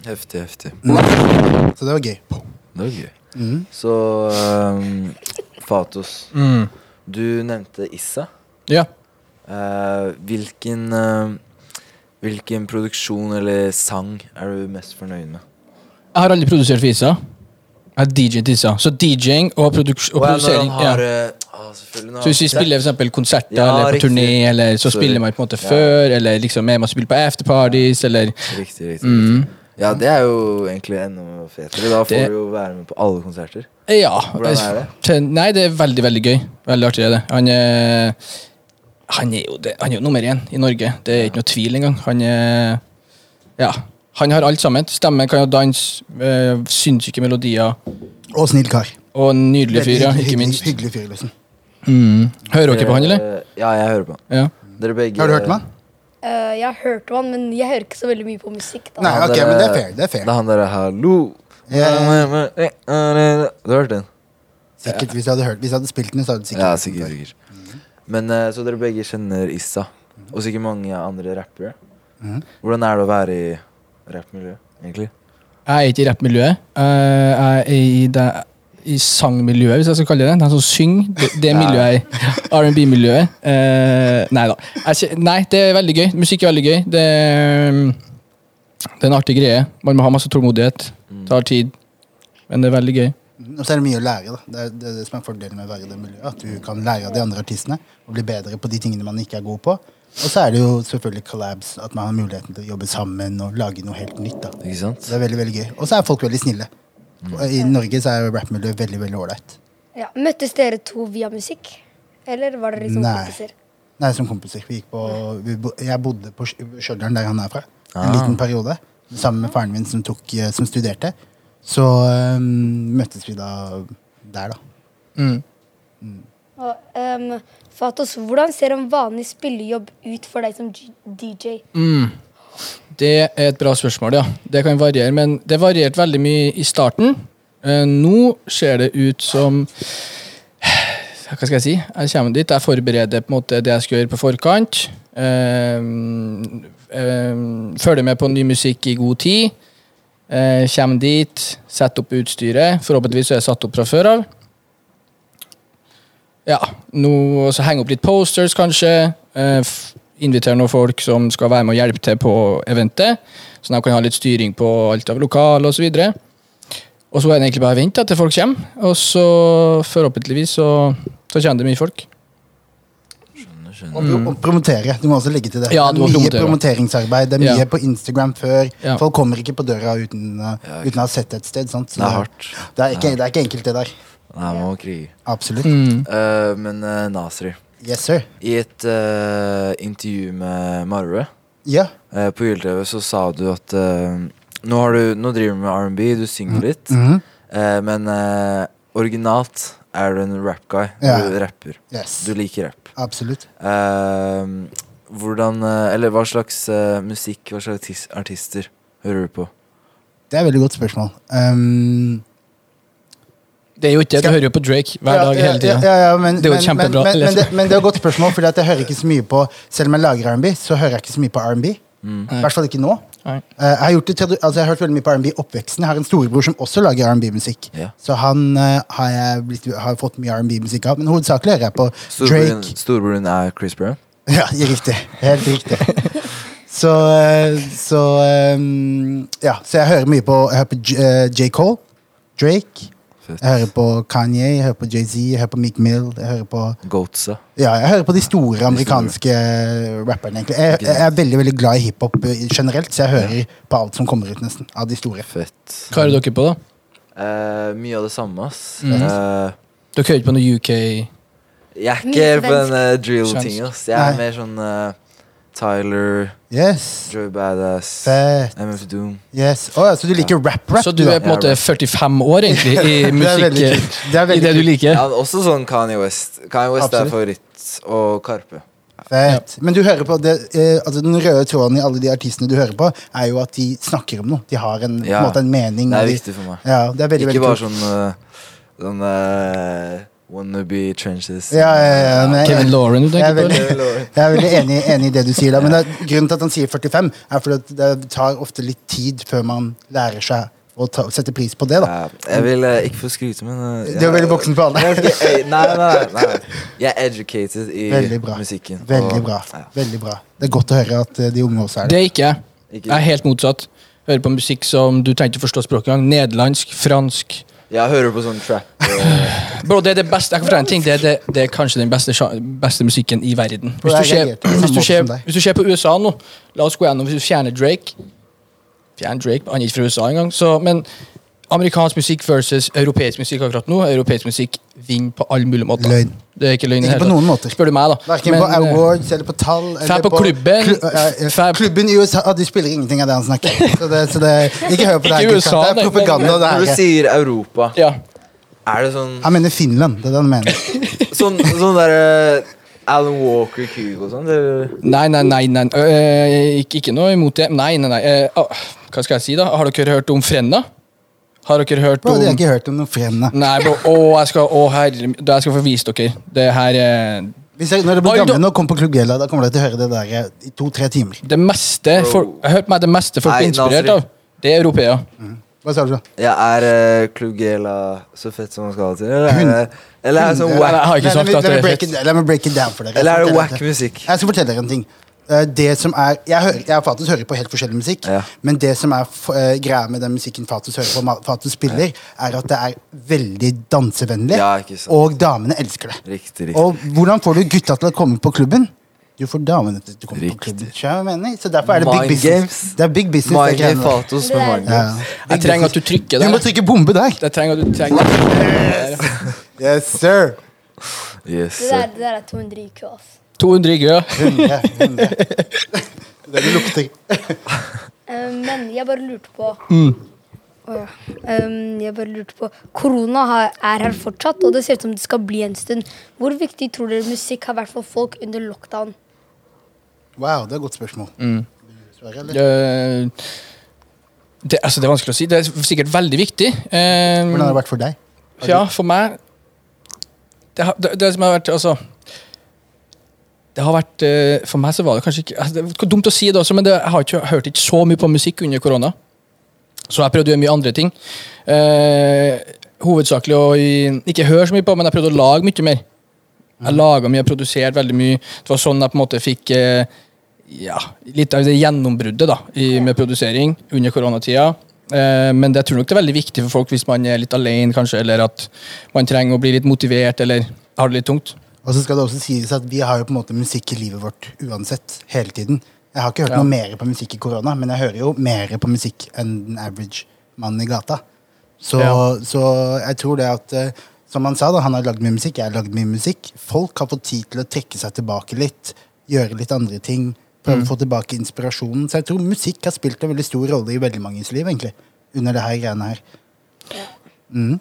S6: Heftig, heftig.
S8: Så det var gøy.
S6: Det var gøy.
S8: Mm.
S6: Så ehm, Fatos, du nevnte Issa.
S7: Ja.
S6: Eh, hvilken eh, Hvilken produksjon eller sang er du mest fornøyd med?
S7: Jeg har aldri produsert for ISA. Jeg har DJ-et til ISA. Så DJ-ing og, produks- og
S6: Å ja, når han
S7: produsering
S6: har
S7: ja.
S6: eh, ah, selvfølgelig når
S7: Så hvis vi
S6: han-
S7: spiller for eksempel konserter
S6: Ja,
S7: eller på
S6: riktig.
S7: turné, eller så
S6: Sorry.
S7: spiller man på en måte
S6: Ja.
S7: før, eller liksom er man spiller på afterparties, eller
S6: Riktig, riktig. riktig. Ja, det er jo egentlig enda fetere. Da får
S7: Mm. Det-
S6: du jo være med på alle konserter.
S7: Ja.
S6: Hvordan er det?
S7: Til- Nei, det er veldig, veldig gøy. Veldig artig er det. Han er, han er, jo, det, han er jo nummer én i Norge. Det er ikke noe tvil engang. Han er Ja. Han har alt sammen. Stemme, kan jo danse, øh, sinnssyke melodier,
S8: Og snill kar.
S7: og en nydelig fyr, ja,
S8: Veldig
S7: ikke
S8: hyggelig-
S7: minst.
S8: Hyggelig fyr, liksom.
S7: Mm. Hører dere på han, eller?
S6: Eh, Ja, jeg hører på han.
S7: Ja.
S6: Dere begge
S8: Har du hørt med han?
S9: Eh, jeg har hørt om han, men jeg hører ikke så veldig mye på musikk. da.
S8: Nei,
S6: Han
S8: ok,
S6: der-
S8: men det er fair. Det er fair.
S6: Det er han derre 'hallo'. Du har hørt den?
S8: Sikkert hvis jeg hadde hørt Hvis jeg hadde spilt den, så hadde du sikkert
S6: Ja, sikkert. sikkert. Men eh, Så dere begge kjenner Issa, og sikkert mange andre rappere.
S8: Mhm.
S6: Hvordan er det å være i rappmiljøet, egentlig?
S7: Jeg er ikke i rappmiljøet. Eh, Jeg er i, det, i sangmiljøet, hvis jeg skal kalle det det. De som synger. Det, det miljøet jeg er i. R&B-miljøet. Eh, nei da. Jeg, kje- nei, det er veldig gøy. Musikk er veldig gøy. Det, er- um, det er en artig greie. Man må ha masse tålmodighet. Tar tid. Men det er veldig gøy.
S8: Og så er det mye å lære, da. Det er det, er det som er fordelen med å være i det miljøet. At du kan lære av de andre artistene og bli bedre på de tingene man ikke er god på. Og så er det jo selvfølgelig collabs, at man har muligheten til å jobbe sammen og lage noe helt nytt. da
S6: Ikke sant?
S8: Så det er veldig, veldig gøy. Og så er folk veldig snille. Og I Norge så er jo rappmiljøet veldig, veldig ålreit.
S9: Ja. Møttes dere to via musikk? Eller var dere liksom
S8: Nei.
S9: kompiser?
S8: Nei, som kompiser. Vi gikk på, vi, bo- jeg bodde på Stj- Stjørdal, der han er fra, en
S7: Ah.
S8: liten periode. Sammen med faren min som, tok, eh, som studerte. Så eh, møttes vi da der, da.
S9: Og, ehm, Fatos, hvordan ser en vanlig spillejobb ut for deg som G DJ?
S7: Mm. Det er et bra spørsmål, ja. Det kan variere, men det varierte veldig mye i starten. Eh, Nå ser det ut som Hva skal jeg si? Jeg kommer dit, jeg forbereder på en måte det jeg skal gjøre på forkant. Eh, eh, følger med på ny musikk i god tid. Eh, kommer dit, setter opp utstyret. Forhåpentligvis så er jeg satt opp fra før av. Ja, noe, så henge opp litt posters, kanskje. Eh, f- invitere noen folk som skal være med og hjelpe til på eventet. Så de kan ha litt styring på alt av lokale osv. Og så er det egentlig bare å vente til folk kommer. Og så forhåpentligvis så, så kommer det mye folk.
S6: Mm,
S8: Og, pro- og promotere. Du må også legge til det.
S7: Mm. Ja, du må
S8: det er mye
S7: promotere.
S8: promoteringsarbeid. Det er
S7: Ja.
S8: mye på Instagram før.
S7: Ja.
S8: Folk kommer ikke på døra uten, eh, uten å ha sett det et sted. Sant? Så
S6: Det er hardt.
S8: Det er, ikke, det er ikke enkelt, det der.
S6: Nei, man må krige.
S8: Absolutt.
S7: Mm.
S6: Eh, men eh, Nasri,
S8: Yes, sir.
S6: i et eh, intervju med Marve
S8: Ja.
S6: eh, på Gyll-TV, så sa du at eh, nå, har du, nå driver du med R&B, du synger litt,
S7: Mm-hmm.
S6: eh, men eh, originalt er du en rap-guy.
S8: Ja.
S6: Du rapper.
S8: Yes.
S6: Du liker rapp.
S8: Absolutt.
S6: Eh, hvordan eh, Eller hva slags eh, musikk, hva slags artis- artister hører du på?
S8: Det er et veldig godt spørsmål. Um,
S7: Det er jo ikke det, du
S8: Skal-
S7: hører jo på Drake hver dag hele tida.
S8: Ja, ja, ja, men,
S7: Det er jo
S8: men-
S7: kjempebra,
S8: Men, men, men,
S7: liksom.
S8: det, men det er et godt spørsmål, for jeg hører ikke så mye på Selv om jeg lager R&B, så hører jeg ikke så mye på R&B. I hvert fall ikke nå.
S7: Mm. Nei.
S8: Eh, jeg, har gjort det, til- altså, jeg har hørt veldig mye på R&B i oppveksten. Jeg har en storebror som også lager R&B-musikk.
S6: Ja.
S8: Så han eh, har jeg blitt, har fått mye R&B-musikk av. Men hovedsakelig hører jeg på
S6: Storbroren,
S8: Drake.
S6: storbroren er Chris Brown?
S8: Ja, riktig. Helt riktig. Så, eh, så eh, Ja, så jeg hører mye på Jeg hører på J, eh, J. Cole, Drake.
S6: Fett.
S8: Jeg hører på Kanye, jeg hører på Jay-Z, jeg hører på Meek Mill. Jeg hører på,
S6: Goatsa.
S8: ja, jeg hører på de store amerikanske rapperne, egentlig. Jeg, jeg er veldig veldig glad i hiphop eh, generelt, så jeg hører på alt som kommer ut, nesten. Av de store.
S6: Fett.
S7: Hva hører dere på, da?
S6: Eh, mye av det samme, ass.
S8: Mm.
S7: Mhm.
S6: Eh,
S7: Dere hører ikke på noe UK
S6: jeg er ikke
S9: Mye
S6: helt på den eh, drill-ting,
S7: Svensk.
S6: ass. Jeg er
S8: Nei.
S6: mer sånn eh, Tyler,
S8: Yes.
S6: Joy Badass,
S8: Fett.
S6: MF Doom.
S8: Yes. Å ja, så du liker rap-rap?
S7: Så du er på en
S6: Ja,
S7: måte 45 år, egentlig, i
S8: Det er
S7: musikk
S8: veldig kult. Det er
S7: I
S8: veldig
S7: det du liker?
S6: Ja, også sånn Kanye West. Kanye West
S8: Absolutt.
S6: er favoritt. Og Karpe.
S8: Fett. Men du hører på det, eh, altså den røde tråden i alle de artistene du hører på, er jo at de snakker om noe. De har en,
S6: Ja.
S8: på en, måte en mening.
S6: Det
S8: og
S6: er
S8: de-
S6: viktig for meg.
S8: Ja, det er veldig,
S6: Ikke
S8: veldig
S6: bare
S8: kult.
S6: sånn eh, Sånn eh, wannabe trenches.
S8: Ja, ja, ja, men jeg,
S7: Kevin Lauren, du
S8: jeg er
S7: tenker på?
S8: veldig, jeg er veldig enig, enig i det du sier, da, men det er, grunnen til at han sier 45, er fordi at det tar ofte litt tid før man lærer seg å ta, sette pris på det. da.
S6: Ja, jeg vil eh, ikke få skryte, men eh,
S8: Du er
S6: jeg-
S8: veldig voksen på alle.
S6: Jeg er ikke- eh, Nei, nei, nei. Jeg er educated i
S8: Veldig bra.
S6: musikken.
S8: Veldig
S6: og-
S8: bra.
S6: ja,
S8: veldig bra. Det er godt å høre at eh, de unge også er
S7: Det
S8: det.
S7: er ikke jeg.
S6: ikke-
S7: Jeg er helt motsatt. Hører på musikk som du trenger ikke forstå språket engang. Nederlandsk, fransk.
S6: Jeg hører på sånn trap.
S7: Bro, det er det beste, jeg kan fortelle en ting Det er, det, det er kanskje den beste, sja- beste musikken i verden Hvis
S8: jeg
S7: du ser,
S8: reagerte på samme
S7: hvis du
S8: måte
S7: ser,
S8: som deg.
S7: hvis du ser på USA nå La oss gå gjennom Hvis du fjerner Drake Fjern Drake, han er ikke fra USA engang så, Men amerikansk musikk versus europeisk musikk akkurat nå Europeisk musikk vinner på alle mulige måter
S8: Løgn.
S7: Det er ikke løgn i det
S8: Ikke
S7: hele
S8: på
S7: tatt.
S8: noen måter.
S7: Spør du meg da
S8: Verken
S7: Men,
S8: på awards eller på tall.
S7: Fær
S8: Eller
S7: på klubben.
S8: klu- eh, eh,
S7: Fær-
S8: klubben i USA ah, De spiller ingenting av det han snakker. Så det, så det, ikke hør på det
S7: Ikke
S8: her. gutta.
S7: USA,
S8: det
S7: nei,
S8: er propaganda. Det
S6: Når du
S8: er det.
S6: sier Europa,
S7: eh, Ja
S6: er det sånn
S8: Han mener Finland. Det er det han mener.
S6: Sånn, sånn derre Alan Walker, Kygo og sånn? det-
S7: Nei, nei, nei, nei. Øh, ikke, ikke noe imot det Nei, nei, nei Øh, ah, Hva skal jeg si da? Har dere hørt om Frenna? Har dere hørt
S8: Bro,
S7: om
S8: de har ikke hørt om noe fremmede.
S7: Nei, bro. Å, jeg skal, å, herre, da jeg skal få vise dere. Det her eh, er
S8: Hvis jeg, når det blir
S7: Oi,
S8: gamle
S7: da-
S8: nå, kom på Klubb Gjella, da kommer dere til å høre det der eh, i to-tre timer.
S7: det meste folk, Jeg hørte meg det meste folk
S6: Nei,
S7: blir inspirert
S6: Nasri.
S7: av. Det er europeer.
S8: Hva sa du? så?
S6: Jeg er uh, Klugela så fett som man skal til? Eller er det, eller er det sånn
S7: Nei, jeg
S6: wack,
S7: har ikke
S8: Altså, Nei,
S7: sagt at det
S8: la meg- la meg
S7: er
S8: break
S7: fett.
S8: it- La meg break it down for dere.
S6: eller er det
S8: Jeg skal
S6: wack
S8: fortelle dere-
S6: musikk?
S8: Jeg skal fortelle dere en ting. Eh, Det som er, jeg, hører, jeg Fatus hører på helt forskjellig musikk,
S6: Ja.
S8: men det som er f eh, greia med den musikken Fatus hører på, ma- Fatus spiller, er at det er veldig dansevennlig,
S6: Ja, ikke sant.
S8: og damene elsker det.
S6: Riktig, riktig.
S8: Og hvordan får du gutta til å komme på klubben? Du får damene til å komme
S6: Riktig.
S8: på klubben. skjønner du hva jeg mener? Så derfor er det big
S6: Mind
S8: business.
S6: games.
S8: Det er big business. det
S6: Mind
S8: greiene der.
S6: Fatos med Mind
S8: Ja.
S6: Games.
S8: Big
S7: Jeg trenger
S8: business.
S7: at du trykker
S8: Du må
S7: der.
S8: trykke bombe der.
S7: Jeg trenger at du trenger
S8: Yes, sir.
S6: Yes.
S9: Det der, det der er 200 IQ, ass.
S7: 200 IQ. ja.
S8: 100, 100. Det er det lukter.
S9: Eh, men jeg bare lurte på Å ja. Em, jeg bare lurte på Korona har- er her fortsatt, og det ser ut som det skal bli en stund. Hvor viktig tror dere musikk har vært for folk under lockdown?
S8: Wow, det er et godt spørsmål. Sverre, eller?
S7: Øh, Det, altså, det er vanskelig å si. Det er sikkert veldig viktig. Eh,
S8: Hvordan har det vært for deg? Har
S7: Ja, for meg Det, har- det, det som har vært Altså det har vært, eh, For meg så var det kanskje ikke altså, Det er dumt å si det også, men det, jeg har ikke hørt ikke så mye på musikk under korona. Så jeg prøvde å gjøre mye andre ting. Eh, hovedsakelig å i- ikke høre så mye på, men jeg prøvde å lage mye mer. Jeg laga mye, jeg produserte veldig mye. Det var sånn jeg på en måte fikk eh, ja, litt av det gjennombruddet da, i, med produsering under koronatida. Eh, men det, jeg tror nok det er veldig viktig for folk hvis man er litt alene, kanskje, eller at man trenger å bli litt motivert eller har det litt tungt.
S8: Og så skal det også sies at vi har jo på en måte musikk i livet vårt uansett, hele tiden. Jeg har ikke hørt
S7: Ja.
S8: noe mer på musikk i korona, men jeg hører jo mer på musikk enn den average mannen i gata. Så,
S7: Ja.
S8: så jeg tror det at eh, Som han sa, da, han har lagd mye musikk, jeg har lagd mye musikk. Folk har fått tid til å trekke seg tilbake litt, gjøre litt andre ting.
S7: Mm.
S8: Prøve å få tilbake inspirasjonen. Så jeg tror musikk har spilt en veldig stor rolle i veldig manges liv, egentlig. Under det her greiene her. Mm,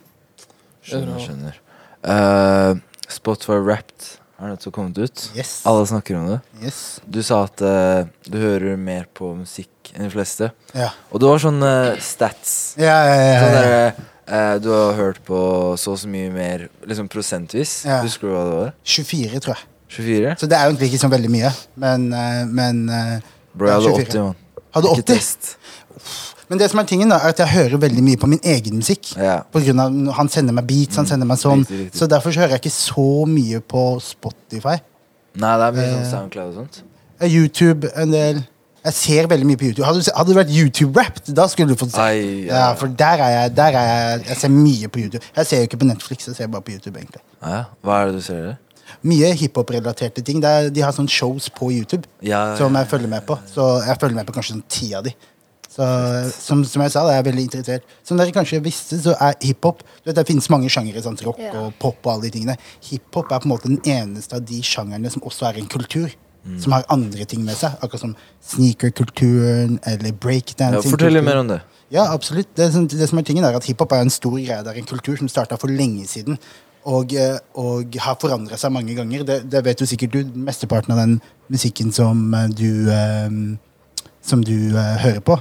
S6: Skjønner, skjønner. Eh, Spotify Wrapped har nettopp kommet ut.
S8: Yes.
S6: Alle snakker om det.
S8: Yes.
S6: Du sa at eh, du hører mer på musikk enn de fleste.
S8: Ja.
S6: Og det var sånn eh, stats.
S8: Ja, ja, ja,
S6: Sånn
S8: ja, ja.
S6: derre, eh, du har hørt på så og så mye mer liksom prosentvis.
S8: Ja.
S6: Husker du hva det var?
S8: 24, tror jeg.
S6: 24?
S8: Så det er jo egentlig ikke sånn veldig mye, men, eh, men eh,
S6: Bro, jeg hadde
S8: 24.
S6: 80, mann.
S8: Hadde
S6: Ikke
S8: 80?
S6: test.
S8: Men det som er tingen da, er at jeg hører veldig mye på min egen musikk.
S6: Ja. Mm.
S8: På grunn av Han sender meg beats, han sender meg sånn.
S6: riktig, riktig.
S8: Så derfor så hører jeg ikke så mye på Spotify.
S6: Nei, det er mye sånn SoundCloud og sånt.
S8: Eh, YouTube en del. Jeg ser veldig mye på YouTube. Hadde, du se- hadde det vært YouTube-rapped, da skulle du fått se.
S6: Ai,
S8: ja.
S6: ja.
S8: for der er, jeg, der er jeg Jeg ser mye på YouTube. Jeg ser jo ikke på Netflix, jeg ser bare på YouTube. egentlig
S6: Ja, ja. Hva er det du ser der?
S8: Mye hiphop-relaterte ting. Det er- de har sånne shows på YouTube
S6: Ja,
S8: som
S6: ja,
S8: jeg følger med på. Så jeg følger med på kanskje sånn ti av de. Så, som, som jeg sa, da er jeg veldig interessert. Som dere kanskje visste, så er hiphop du vet, Det finnes mange sjangere, sånn rock
S9: Ja.
S8: og pop og alle de tingene. Hiphop er på en måte den eneste av de sjangerne som også er en kultur.
S6: Mm.
S8: Som har andre ting med seg. Akkurat som sneakerkulturen eller
S6: Ja,
S8: breakdancing.
S6: fortell litt mer om det.
S8: Ja, absolutt. Det, som- det som er tingen er at Hiphop er en stor greie. Det er en kultur som starta for lenge siden. Og, eh, og har forandra seg mange ganger. Det, det vet jo sikkert du. Mesteparten av den musikken som eh, du, eh, som du eh, hører på,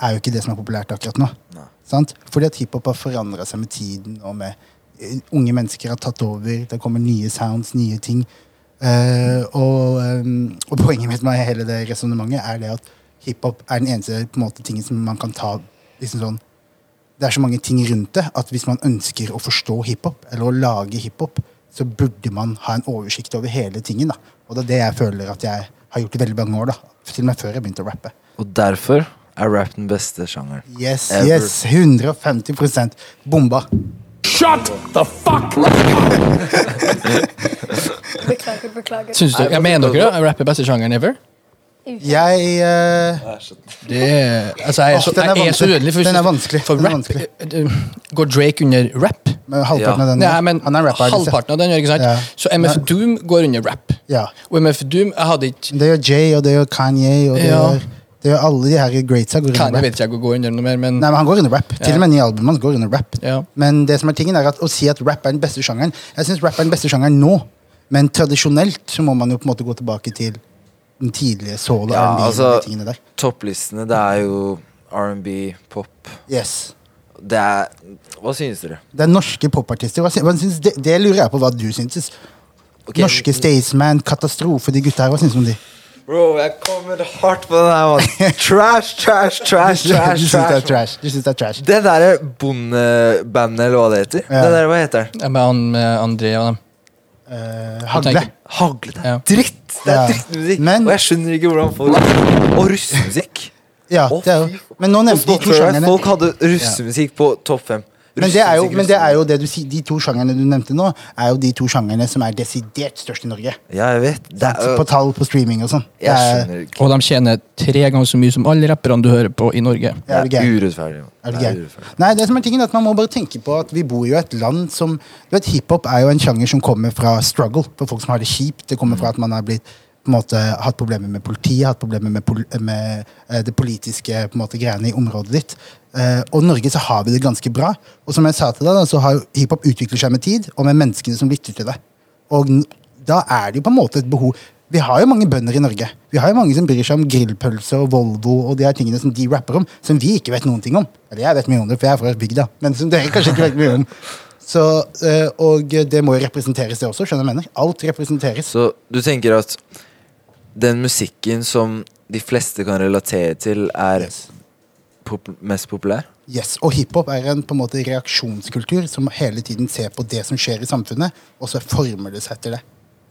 S8: er jo ikke det som er populært akkurat nå. Sant? Fordi at hiphop har forandra seg med tiden. og med eh, Unge mennesker har tatt over. Det kommer nye sounds, nye ting. Eh, og, eh, og poenget mitt med hele det resonnementet er det at hiphop er den eneste på en måte, tingen som man kan ta liksom sånn det er så mange ting rundt det at hvis man ønsker å forstå hiphop, eller å lage hiphop, så burde man ha en oversikt over hele tingen. da. Og det er det jeg føler at jeg har gjort i veldig mange år. da. Til og med før jeg begynte å rappe.
S6: Og derfor er rap den beste sjangeren.
S8: Yes,
S6: Ever.
S8: yes, 150 bomba.
S4: Shut the fuck
S9: Beklager, beklager.
S7: Syns dere, jeg
S8: altså,
S7: mener dere det? Rap er beste sjangeren ever?
S8: Jeg eh,
S7: Det er, altså jeg er
S8: Åh,
S7: så,
S8: den er
S7: jeg er så
S8: vanskelig.
S7: udelig. for-
S8: Den er vanskelig.
S7: For
S8: Den er
S7: rap,
S8: vanskelig.
S7: eh, går Drake under rap?
S8: men Halvparten
S6: Ja.
S8: av den
S7: Nei, men
S8: Han er rapper. liksom.
S7: halvparten av den, gjør ikke sant?
S8: Ja.
S7: Så MF Doom går under rap.
S8: Ja.
S7: Og MF Doom, jeg hadde ikke
S8: Det gjør Jay, og det gjør Kanye, og det,
S7: Ja.
S8: gjør, det gjør alle de her greatsa. Går
S7: Kan,
S8: under
S7: jeg
S8: rap.
S7: vet ikke jeg går under noe mer, men
S8: Nei, men han går under rap. Til
S7: Ja.
S8: og med nye albumet hans går under rap.
S7: Ja.
S8: Men det som er tingen er at å si at rap er den beste sjangeren Jeg syns rap er den beste sjangeren nå, men tradisjonelt så må man jo på en måte gå tilbake til den tidlige soul og
S6: Ja,
S8: R&B og
S6: altså-
S8: de tingene der.
S6: Topplistene, det er jo R&B, pop
S8: Yes.
S6: Det er Hva synes dere?
S8: Det er norske popartister. Hva sy- hva syns- Det, det lurer jeg på hva du syns.
S6: Ok,
S8: Norske Staysman, katastrofe, de gutta her. Hva syns du om de?
S6: Bro, jeg kommer hardt på den her, mann. Trash, trash, trash,
S8: du
S6: trash.
S8: syns det er
S6: trash.
S8: trash. Du syns det er trash.
S6: Det derre bondebandet, eller hva det heter.
S8: Ja.
S6: Det der, Hva heter den?
S7: jeg med han med André og dem.
S8: Eh,
S7: Jeg
S8: Hagle.
S7: tenker-
S6: Hagle. Det
S7: Ja.
S6: er dritt! Det
S8: Ja.
S6: er drittmusikk.
S8: Men-
S6: Og jeg skjønner ikke hvordan folk Og russemusikk.
S8: Ja,
S6: Å,
S8: det er
S6: fy
S8: jo. Men nå nevnte de
S6: Folk
S8: to
S6: hadde-
S8: sjangerne.
S6: Folk hadde russemusikk på topp fem.
S8: Men det er jo,
S6: Russemusikk,
S8: men det er
S6: russemusikk.
S8: jo det du sier, de to sjangerne du nevnte nå, er jo de to sjangerne som er desidert størst i Norge.
S6: Ja, jeg vet. Det er,
S8: på tall på streaming og sånn. Det
S6: jeg
S8: er,
S6: skjønner ikke.
S7: Og de tjener tre ganger så mye som alle rapperne du hører på i Norge.
S8: det er jo
S6: Det er
S8: gøy.
S6: urettferdig. mann.
S8: Er det
S6: Det er
S8: gøy?
S6: urettferdig.
S8: Nei, det som er tingen er at Man må bare tenke på at vi bor jo i et land som Du vet, Hiphop er jo en sjanger som kommer fra struggle, for folk som har det kjipt. Det kommer fra at man har blitt på en måte, hatt problemer med politiet, hatt problemer med, pol med eh, det politiske på en måte, greiene i området ditt. Eh, og i Norge så har vi det ganske bra. Og som jeg sa til deg, da, så har jo hiphop utviklet seg med tid, og med menneskene som lytter til det. Og n- da er det jo på en måte et behov Vi har jo mange bønder i Norge. Vi har jo mange som bryr seg om grillpølse og Volvo og de her tingene som de rapper om, som vi ikke vet noen ting om. Eller jeg vet mye om det, for jeg er fra bygda, men som dere kanskje ikke vet mye om. Så, eh, og det må jo representeres, det også. skjønner du hva jeg mener? Alt representeres.
S6: Så du tenker at den musikken som de fleste kan relatere til, er
S8: Yes.
S6: pop mest populær?
S8: Yes, Og hiphop er en på en måte reaksjonskultur som hele tiden ser på det som skjer i samfunnet, og så former det seg til det.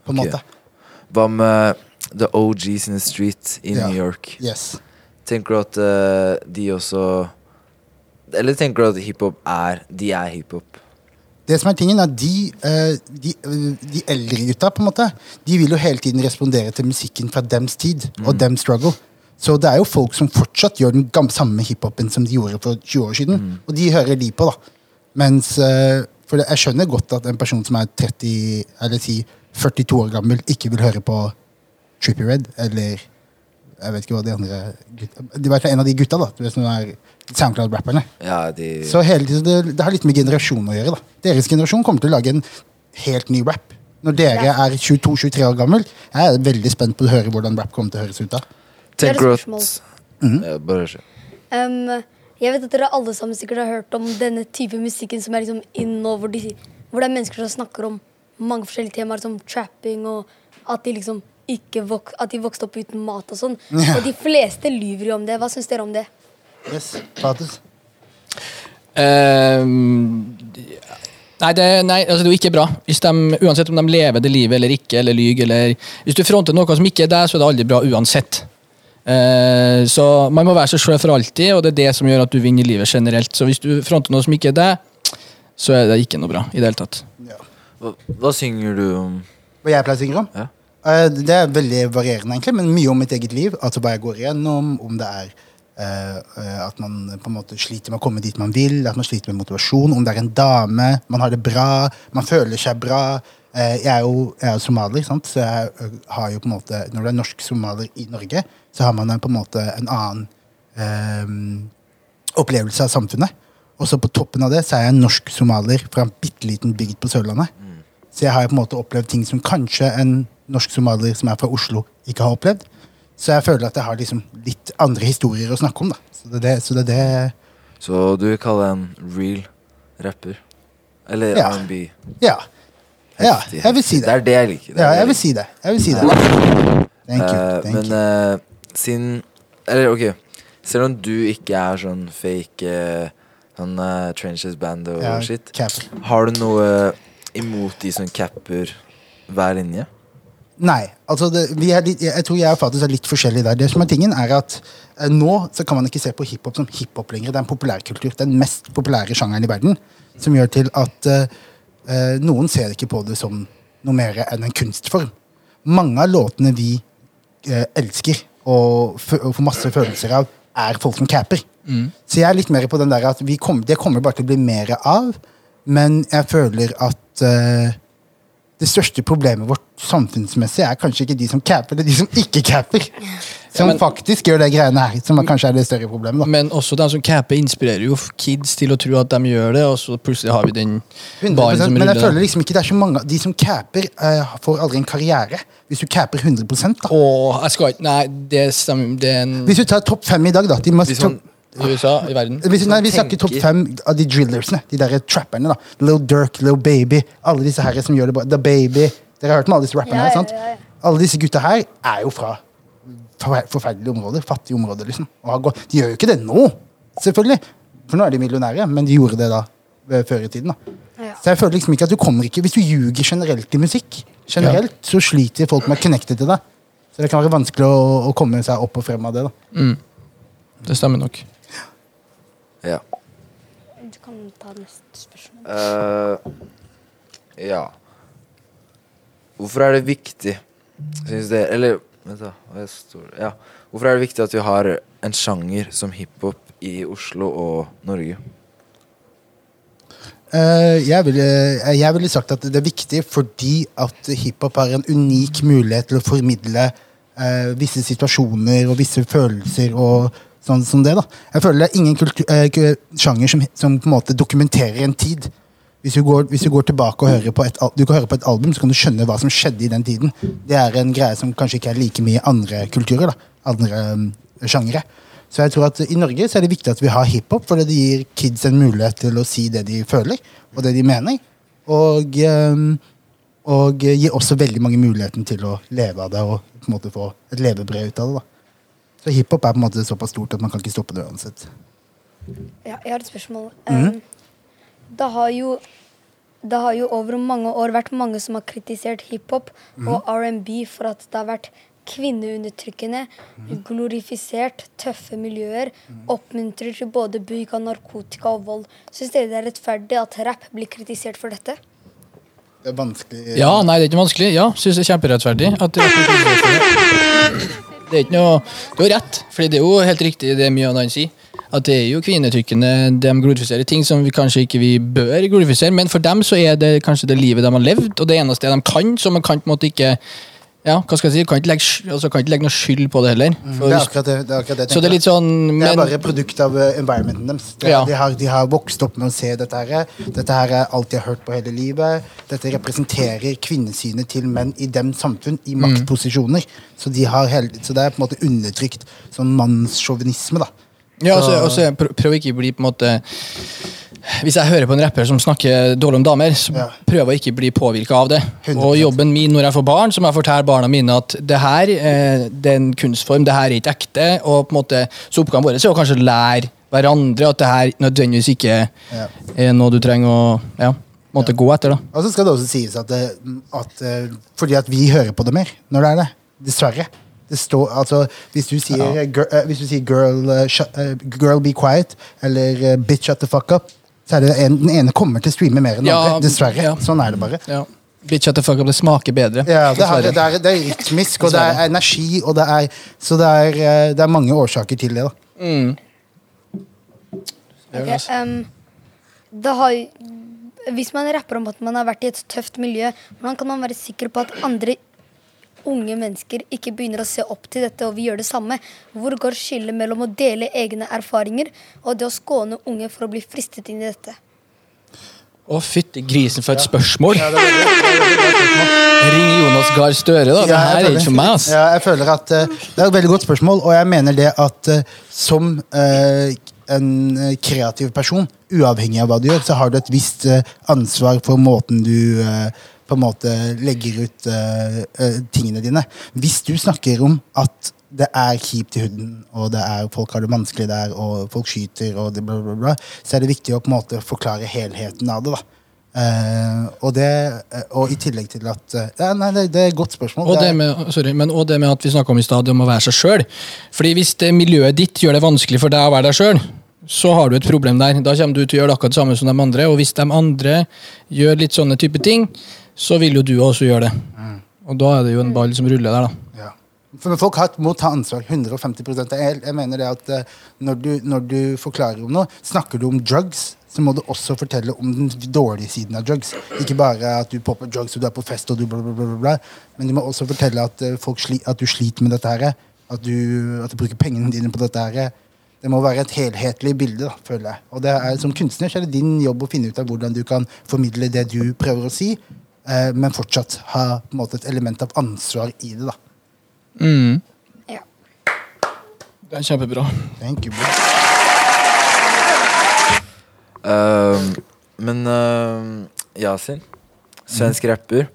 S8: på en
S6: Ok.
S8: måte.
S6: Hva med The OGs in the Street i
S8: Ja.
S6: New York?
S8: Yes.
S6: Tenker du at eh, de også Eller tenker du at hiphop er De er hiphop?
S8: Det som er tingen er at de, eh, de, eh, de eldre gutta på en måte De vil jo hele tiden respondere til musikken fra dems tid og dem struggle. Så det er jo folk som fortsatt gjør den gam- samme hiphopen som de gjorde for 20 år siden. Og de hører de på, da. Mens eh, For det, jeg skjønner godt at en person som er 30, eller si 42 år gammel, ikke vil høre på Trippy Red eller jeg vet ikke hva de andre gutta, De var en av de gutta da, du vet, som er SoundCloud-rapperne.
S6: Ja, de
S8: Så hele tiden, det, det har litt med generasjon å gjøre. da. Deres generasjon kommer til å lage en helt ny rap. Når dere er 22-23 år gammel, jeg er veldig spent på å høre hvordan rap kommer til å høres ut. da.
S9: Det er
S6: Tenker du
S9: et
S6: at
S8: Mhm.
S6: Ja, Bare kjør.
S9: Ehm, jeg vet at dere alle sammen sikkert har hørt om denne type musikken som er liksom in nå, hvor, de, hvor det er mennesker som snakker om mange forskjellige temaer, som trapping og at de liksom ikke vok at de vokste opp uten mat og sånn.
S8: Ja.
S9: Og de fleste lyver jo om det. Hva syns dere om det?
S8: Yes, Fatus.
S7: Eh, nei, det, nei, altså det er jo ikke bra. Hvis de, uansett om de lever det livet eller ikke, eller lyver eller Hvis du fronter noe som ikke er deg, så er det aldri bra uansett. Eh, så man må være seg sjøl for alltid, og det er det som gjør at du vinner i livet generelt. Så hvis du fronter noe som ikke er deg, så er det ikke noe bra i det hele tatt.
S6: Hva, hva synger du om?
S8: Hva jeg pleier å synge om?
S6: Ja.
S8: Eh, Det er veldig varierende, egentlig, men mye om mitt eget liv. Altså hva jeg går igjennom, om det er eh, eh, at man på en måte sliter med å komme dit man vil, at man sliter med motivasjon, om det er en dame, man har det bra, man føler seg bra. Eh, jeg er jo jeg er jo somalier, sant? så jeg eh, har jo på en måte Når du er norsk somalier i Norge, så har man eh, på en måte en annen eh, opplevelse av samfunnet. Og så på toppen av det så er jeg en norsk somalier fra en bitte liten bygd på Sørlandet. Så jeg har på en måte opplevd ting som kanskje en norsk somalier som er fra Oslo, ikke har opplevd. Så jeg føler at jeg har liksom litt andre historier å snakke om. da. Så det er det, så det, er det
S6: Så du vil kalle en real rapper? Eller
S8: Ja.
S6: R&B?
S8: ja. ja. Jeg vil si
S6: Det
S8: det.
S6: er det jeg liker. det er
S8: Ja,
S6: det
S8: jeg vil
S6: liker.
S8: si det. Jeg vil si det. Thank you.
S6: Eh,
S8: Thank
S6: men
S8: you.
S6: eh, siden Eller ok, selv om du ikke er sånn fake eh, sånn eh, trenches band og
S8: Ja,
S6: shit,
S8: cap.
S6: har du noe imot de som capper hver linje?
S8: Nei. altså det, vi er litt, Jeg tror jeg og Fatus er litt forskjellige der. Det som er tingen er at eh, Nå så kan man ikke se på hiphop som hiphop lenger. Det er en populærkultur. Den mest populære sjangeren i verden. Som gjør til at eh, eh, noen ser ikke på det som noe mer enn en kunstform. Mange av låtene vi eh, elsker og, fø- og får masse følelser av, er folk som caper. Så jeg er litt mer på den der at vi kom, det kommer bare til å bli mer av, men jeg føler at eh, det største problemet vårt samfunnsmessig er kanskje ikke de som capper, det er de som ikke capper. Som
S7: Ja, men-
S8: faktisk gjør det greiene her, som er kanskje er det større problemet. da.
S7: Men også de som capper, inspirerer jo kids til å tro at de gjør det, og så plutselig har vi den
S8: 100%,
S7: baren som
S8: men jeg føler
S7: ruller.
S8: liksom ikke det er så mange av De som capper, eh, får aldri en karriere. Hvis du capper 100 da.
S7: Og jeg skal ikke Nei, det stemmer Det er en
S8: Hvis du tar topp fem i dag, da. De must
S6: Hvis man,
S8: top,
S7: i USA, i verden.
S8: hvis, nei, vi snakker
S6: tenker-
S8: topp fem av de drillersene. De derre trapperne. da Lil Durk, Lil Baby, alle disse her som gjør det bra. The Baby. Dere har hørt om alle disse rapperne
S9: Ja,
S8: her,
S9: ja,
S8: sant?
S9: ja, ja.
S8: Alle disse gutta her er jo fra forfer- forferdelige områder. Fattige områder, liksom. Og har gått. De gjør jo ikke det nå, selvfølgelig. For nå er de millionære, men de gjorde det da eh, før i tiden. da
S9: Ja.
S8: Så jeg føler liksom ikke at du kommer ikke Hvis du ljuger generelt i musikk, generelt, så sliter folk med å connecte til deg. Så det kan være vanskelig å, å komme seg opp og frem av det. da
S7: Mm. Det stemmer nok.
S6: ja.
S9: Du kan ta neste spørsmål.
S6: Eh, ja. Hvorfor er det viktig, syns dere Eller vent, da. hva er det står? Ja. Hvorfor er det viktig at vi har en sjanger som hiphop i Oslo og Norge?
S8: Eh, jeg, ville, eh, jeg ville sagt at det er viktig fordi at hiphop har en unik mulighet til å formidle eh, visse situasjoner og visse følelser og sånn som det. da. Jeg føler det er ingen kultu- eh, ku- sjanger som, som på en måte dokumenterer en tid. Hvis du, går, hvis du går tilbake og hører på et, al- du kan høre på et album, så kan du skjønne hva som skjedde i den tiden. Det er en greie som kanskje ikke er like mye i andre kulturer. da, andre eh, sjangere. Så jeg tror at i Norge så er det viktig at vi har hiphop, fordi det gir kids en mulighet til å si det de føler, og det de mener. Og, ehm, og gir også veldig mange muligheten til å leve av det og på en måte få et levebrød ut av det. da. Så hiphop er på en måte såpass stort at man kan ikke stoppe det uansett.
S9: Ja, jeg har et spørsmål. Um, det, har jo, det har jo over mange år vært mange som har kritisert hiphop og R&B for at det har vært kvinneundertrykkende, glorifisert, tøffe miljøer, oppmuntrer til både bruk av narkotika og vold. Syns dere det er rettferdig at rap blir kritisert for dette?
S8: Det er vanskelig
S7: Ja, nei, det er ikke vanskelig. Ja, syns det er kjemperettferdig. At det, det er ikke noe Du har rett, for det er jo helt riktig det mye av det han sier. At det er jo kvinnetykkene de glorifiserer ting som vi kanskje ikke vi bør glorifisere, men for dem så er det kanskje det livet de har levd, og det eneste de kan, så man kan på en måte ikke Ja, hva skal jeg si? Kan ikke legge, sky- altså, kan ikke legge noe skyld på det heller. For,
S8: Mm. Det er akkurat det, det, er akkurat det jeg
S7: Mm. så det er
S8: tenker.
S7: litt sånn
S8: Det er
S7: men,
S8: bare et produkt av eh, environmenten deres. Det,
S7: Ja.
S8: de, har, de har vokst opp med å se dette her. Dette her er alt de har hørt på hele livet. Dette representerer kvinnesynet til menn i dem samfunn, i
S7: Mm.
S8: maktposisjoner. Så, de har hele, så det er på en måte undertrykt sånn mannssjåvinisme, da.
S7: Ja, og så- og så pr- prøv ikke å bli på en måte Hvis jeg hører på en rapper som snakker dårlig om damer, så
S8: Ja.
S7: prøver jeg ikke å bli påvirka av det.
S8: 100%.
S7: Og jobben min når jeg får barn, så må jeg fortelle barna mine at det her eh, det er en kunstform, det her er ikke ekte. Og på en måte, Så oppgaven vår er å kanskje lære hverandre at det her nødvendigvis ikke
S8: Ja.
S7: er noe du trenger å ja, på en måte gå etter. da.
S8: Og så eh, skal det også sies at, det, at eh, fordi at vi hører på det mer når det er det. Dessverre. Det står, altså, hvis, du sier, eh, gir- eh, hvis du sier girl, eh, shut, eh, 'girl be quiet' eller eh, 'bitch shut the fuck up', så er det en, den ene kommer til å streame mer enn den
S7: Ja,
S8: andre. Dessverre.
S7: ja.
S8: Sånn er det bare.
S7: Ja. Bitch at the fuck up, det smaker bedre.
S8: Ja, det, har,
S7: Dessverre.
S8: det, er, det er rytmisk, og det er energi, og det er Så det er, eh, det er mange årsaker til det, da.
S7: Gjør det,
S9: Ok,
S7: altså.
S9: ehm, det har Hvis man rapper om at man har vært i et tøft miljø, hvordan kan man være sikker på at andre unge mennesker ikke begynner å se opp til dette og vil gjøre det samme? Hvor går skillet mellom å dele egne erfaringer og det å skåne unge for å bli fristet inn i dette?
S7: Å, fytti grisen for et spørsmål! Ring Jonas Gahr Støre, da. Det
S8: Ja, jeg
S7: her er
S8: føler-
S7: ikke for meg, ass.
S8: Ja, jeg føler at eh, Det er et veldig godt spørsmål, og jeg mener det at eh, som eh, en eh, kreativ person, uavhengig av hva du gjør, så har du et visst eh, ansvar for måten du eh, på en måte legger ut eh, eh, tingene dine. Hvis du snakker om at det er kjipt i huden, og det er, folk har det vanskelig der, og folk skyter, og det bla, bla, bla, så er det viktig å på en måte forklare helheten av det. da. Eh, og, det, eh, og i tillegg til at eh, ja, Nei, det, det er et godt spørsmål.
S7: Og
S8: Det er-
S7: det, med, sorry, men, og det med at vi snakka om i stad, det om å være seg sjøl. Fordi hvis det miljøet ditt gjør det vanskelig for deg å være deg sjøl, så har du et problem der. Da kommer du til å gjøre akkurat det samme som de andre, og hvis de andre gjør litt sånne type ting, så vil jo du også gjøre det.
S8: Mm.
S7: Og da er det jo en ball som ruller der, da.
S8: Ja. For men folk har, må ta ansvar. 150 jeg, jeg mener det at eh, når du, når du forklarer om noe, snakker du om drugs, så må du også fortelle om den dårlige siden av drugs. Ikke bare at du popper drugs og du er på fest og du bla, bla, bla. bla, bla. Men du må også fortelle at, eh, folk sli, at du sliter med dette her. At du, at du bruker pengene dine på dette her. Det må være et helhetlig bilde, da, føler jeg. Og det er, som kunstner så er det din jobb å finne ut av hvordan du kan formidle det du prøver å si, eh, men fortsatt ha på en måte, et element av ansvar i det. da.
S7: Det er kjempebra.
S8: Thank you, bro.
S6: Ehm, men ehm, Yasin, svensk rapper,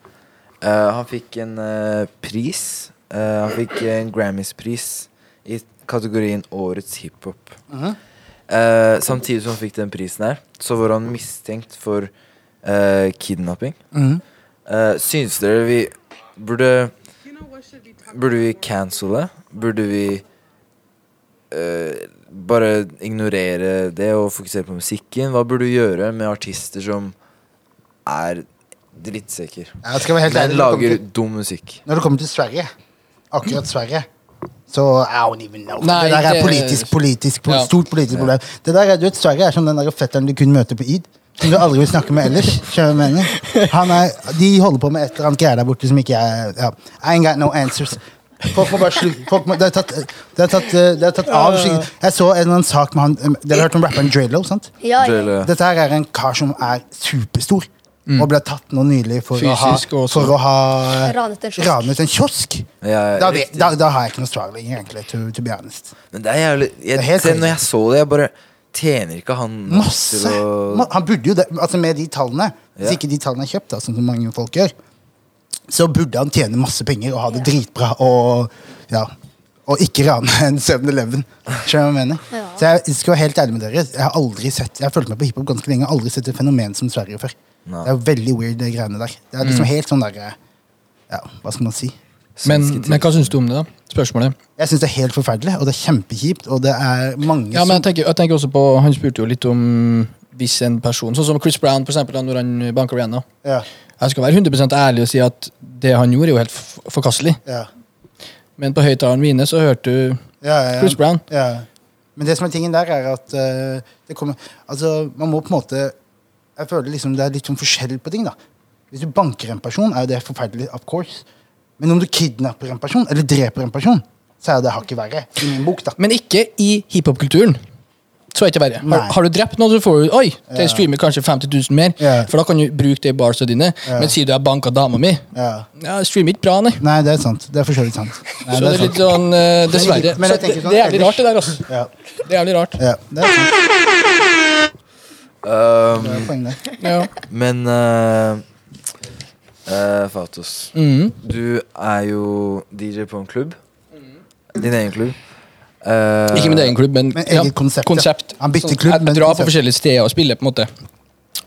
S6: eh, han fikk en eh, pris. Eh, han fikk en Grammys-pris i kategorien Årets hiphop. Eh, samtidig som han fikk den prisen her, så var han mistenkt for eh, kidnapping.
S7: Mm.
S6: Eh, syns dere vi burde Burde vi cancele? Burde vi eh, bare ignorere det og fokusere på musikken? Hva burde du gjøre med artister som er drittsekker,
S8: Jeg skal være helt
S6: men
S8: ærlig, når det kommer
S6: lager
S8: til-
S6: dum musikk?
S8: Når det kommer til Sverige, akkurat Sverige, så I don't even know.
S7: Nei,
S8: det der er
S7: det-
S8: politisk, politisk, po-
S7: Ja.
S8: stort politisk problem. Det der er, du vet, Sverige er som den der fetteren du kun møter på id. Som du aldri vil snakke med ellers. skjønner du hva jeg mener? Han er, de holder på med et eller annet greier der borte som ikke jeg ja. I ain't got no answers. Folk må bare slutte. Folk må, det er tatt, det er tatt, eh, det er tatt av. slik- Jeg så en eller annen sak med han Dere har hørt om rapperen Drillo? sant?
S9: Ja, ja.
S6: Drøyle.
S8: Dette her er en kar som er superstor. Og ble tatt nå nylig for
S7: Fysisk
S8: å ha,
S7: og
S8: for
S7: sånn.
S8: å ha
S9: Ranet en kiosk.
S8: ranet en kiosk.
S6: Ja,
S8: da, vet,
S6: Eh, riktig.
S8: da, da har jeg ikke noe svar lenger, egentlig. To, to be honest.
S6: Men det er jævlig jeg,
S8: er helt
S6: se,
S8: crazy.
S6: Når jeg så det, jeg bare Tjener ikke han nok
S8: Masse!
S6: til å
S8: Ma- Han burde jo det. Altså med de tallene, hvis
S6: Ja.
S8: ikke de tallene er kjøpt, da, sånn som så mange folk gjør, så burde han tjene masse penger og ha det dritbra og ja. Og ikke rane en 7-Eleven. Skjønner du hva jeg mener? Så jeg skal være helt ærlig med dere. Jeg har aldri sett Jeg har fulgt med på hiphop ganske lenge. Jeg har aldri sett et fenomen som Sverige før.
S6: Nei.
S8: Det er jo veldig weird, det greiene der. Det er liksom
S7: Mm.
S8: helt sånn derre Ja, hva skal man si?
S7: Men,
S6: Svenske
S7: men hva syns du om det, da? Spørsmålet.
S8: Jeg syns det er helt forferdelig, og det er kjempekjipt, og det er mange
S7: Ja,
S8: som
S7: men jeg tenker, jeg tenker også på, Han spurte jo litt om hvis en person Sånn som Chris Brown, for eksempel, da, når han banker Rihanna.
S8: Ja,
S7: Jeg skal være 100 ærlig og si at det han gjorde, er jo helt f- forkastelig.
S8: ja,
S7: Men på høyttalerne mine så hørte du
S8: ja, ja,
S7: Chris Brown.
S8: ja. Men det som er tingen der, er at eh, det kommer Altså, man må på en måte Jeg føler liksom det er litt sånn forskjell på ting, da. Hvis du banker en person, er jo det forferdelig, of course. Men om du kidnapper en person, eller dreper en person, så er jo det hakket verre. I min bok, da.
S7: Men ikke i hiphop-kulturen. Så er det ikke verre. Har,
S8: Nei.
S7: har du drept noen, så får du Oi, det streamer kanskje 50 000 mer,
S8: Ja.
S7: for da kan du bruke det i barsa dine. Men sier du jeg banka dama mi,
S8: Ja.
S7: ja, jeg streamer ikke bra, nei.
S8: Nei, det er sant. Det er for så vidt sant. Nei,
S7: Så det
S8: det er
S7: er litt
S8: sant.
S7: sånn, eh, dessverre.
S8: Men jeg
S7: Så
S8: tenker
S7: det,
S8: sånn
S7: det er jævlig
S8: ellers-
S7: rart, det der, altså.
S8: Ja,
S7: Det er jævlig rart.
S8: ja, det er sant.
S6: Um,
S8: Det er poenget der.
S7: Ja.
S6: Men eh, eh, Fatos,
S8: Mm.
S6: du er jo DJ på en klubb. Din egen klubb. Eh,
S7: Ikke min egen klubb, men,
S8: Men eget konsept, ja. Han bytter
S7: Sånn,
S8: klubb,
S7: jeg,
S8: men
S7: jeg drar
S8: konsept.
S7: på forskjellige steder og spiller, på en måte.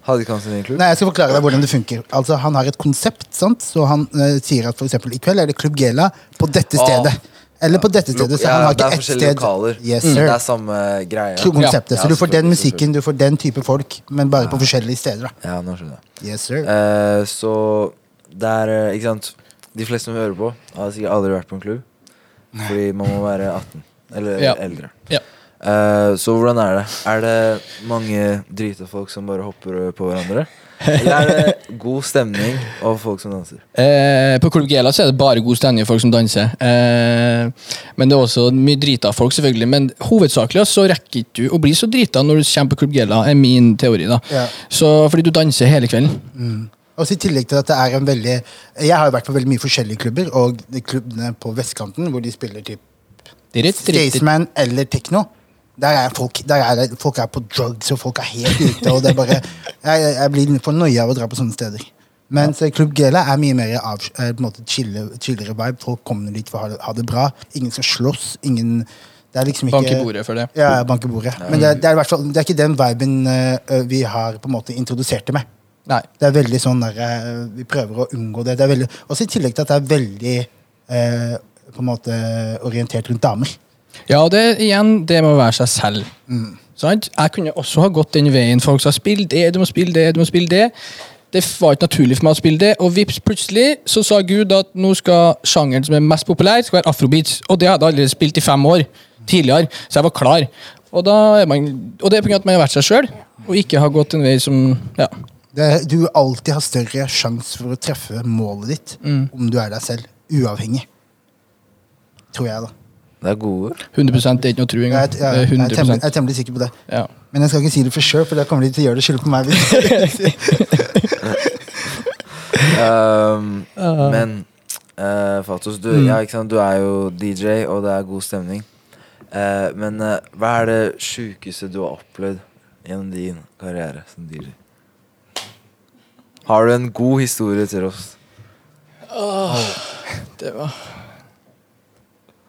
S6: Hadde ikke han sin egen klubb?
S8: Nei, jeg skal forklare deg hvordan det funker. Altså, Han har et konsept, sant? så han eh, sier at for eksempel, i kveld er det Klubb Gela på dette
S6: Åh.
S8: stedet. Eller på dette stedet, så han har
S6: det
S8: ikke
S6: er
S8: ett
S6: forskjellige
S8: sted.
S6: lokaler. Mm.
S8: Yes,
S6: Det
S8: sir.
S6: er samme greia.
S8: Konseptet.
S6: Ja,
S8: Så du får den
S6: selvfølgelig,
S8: musikken, du får den type folk, men bare på forskjellige steder.
S6: selvfølgelig.
S8: da.
S6: Ja, nå skjønner jeg.
S8: Yes, sir.
S6: Eh, så det er eh, Ikke sant. De fleste som hører på, har sikkert aldri vært på en klubb. Fordi man må være 18 eller
S7: Ja.
S6: eldre.
S7: Ja.
S6: Eh, så hvordan er det? Er det mange drita folk som bare hopper på hverandre? Eller er det god stemning og folk som danser?
S7: Eh, på Klubb Gela så er det bare god stemning og folk som danser. Eh, men det er også mye drita folk, selvfølgelig. Men hovedsakelig så rekker ikke du å bli så drita når du kommer på Klubb Gela, er min teori. da.
S8: Ja.
S7: Så Fordi du danser hele kvelden.
S8: Mm. Og så I tillegg til at det er en veldig Jeg har jo vært på veldig mye forskjellige klubber, og de klubbene på vestkanten hvor de spiller typ
S7: Dritt, dritt, dritt.
S8: Staysman eller Tekno. Der er folk, der er det, folk er på drugs, og folk er helt ute. Og det er bare, jeg, jeg blir for noia av å dra på sånne steder. Mens eh, Klubb Gela er mye mer av, eh, på en måte chille, chillere vibe. Folk kommer dit for å ha det, ha det bra. Ingen skal slåss. ingen... Det er liksom ikke...
S7: Bank i bordet for det.
S8: Ja, ja, bank i bordet. Men det er, det, er i hvert fall, det er ikke den viben eh, vi har på en måte introdusert det med.
S7: Nei.
S8: Det er veldig sånn der, eh, Vi prøver å unngå det. det er veldig, også i tillegg til at det er veldig eh, på en måte orientert rundt damer.
S7: Ja, og det igjen, det må være seg selv.
S8: Mm.
S7: Sant? Jeg kunne også ha gått den veien. Folk sa 'spill det, du må spille det, du må spille det'. Det var ikke naturlig for meg å spille det, og vips, plutselig så sa Gud at nå skal sjangeren som er mest populær, skal være afrobeats. Og det hadde jeg allerede spilt i fem år tidligere, så jeg var klar. Og, da er man, og det er pga. at man har vært seg sjøl, og ikke har gått en vei som Ja.
S8: Det, er- du alltid har større sjanse for å treffe målet ditt
S7: Mm.
S8: om du er deg selv. Uavhengig. Tror jeg, da.
S6: Det er gode ord.
S7: 100 det er ikke noe tro engang.
S8: Jeg,
S7: Det
S8: jeg,
S7: er
S8: jeg, er temmelig,
S7: 100
S8: jeg er temmelig sikker på det.
S7: ja.
S8: Men jeg skal ikke si det for sure, for da kommer de til å gjøre det skyldig på meg.
S6: Um, Men eh, Fatos, du, ja, ikke sant? du er jo DJ, og det er god stemning. Eh, men eh, hva er det sjukeste du har opplevd gjennom din karriere som DJ? Har du en god historie til oss?
S7: Det var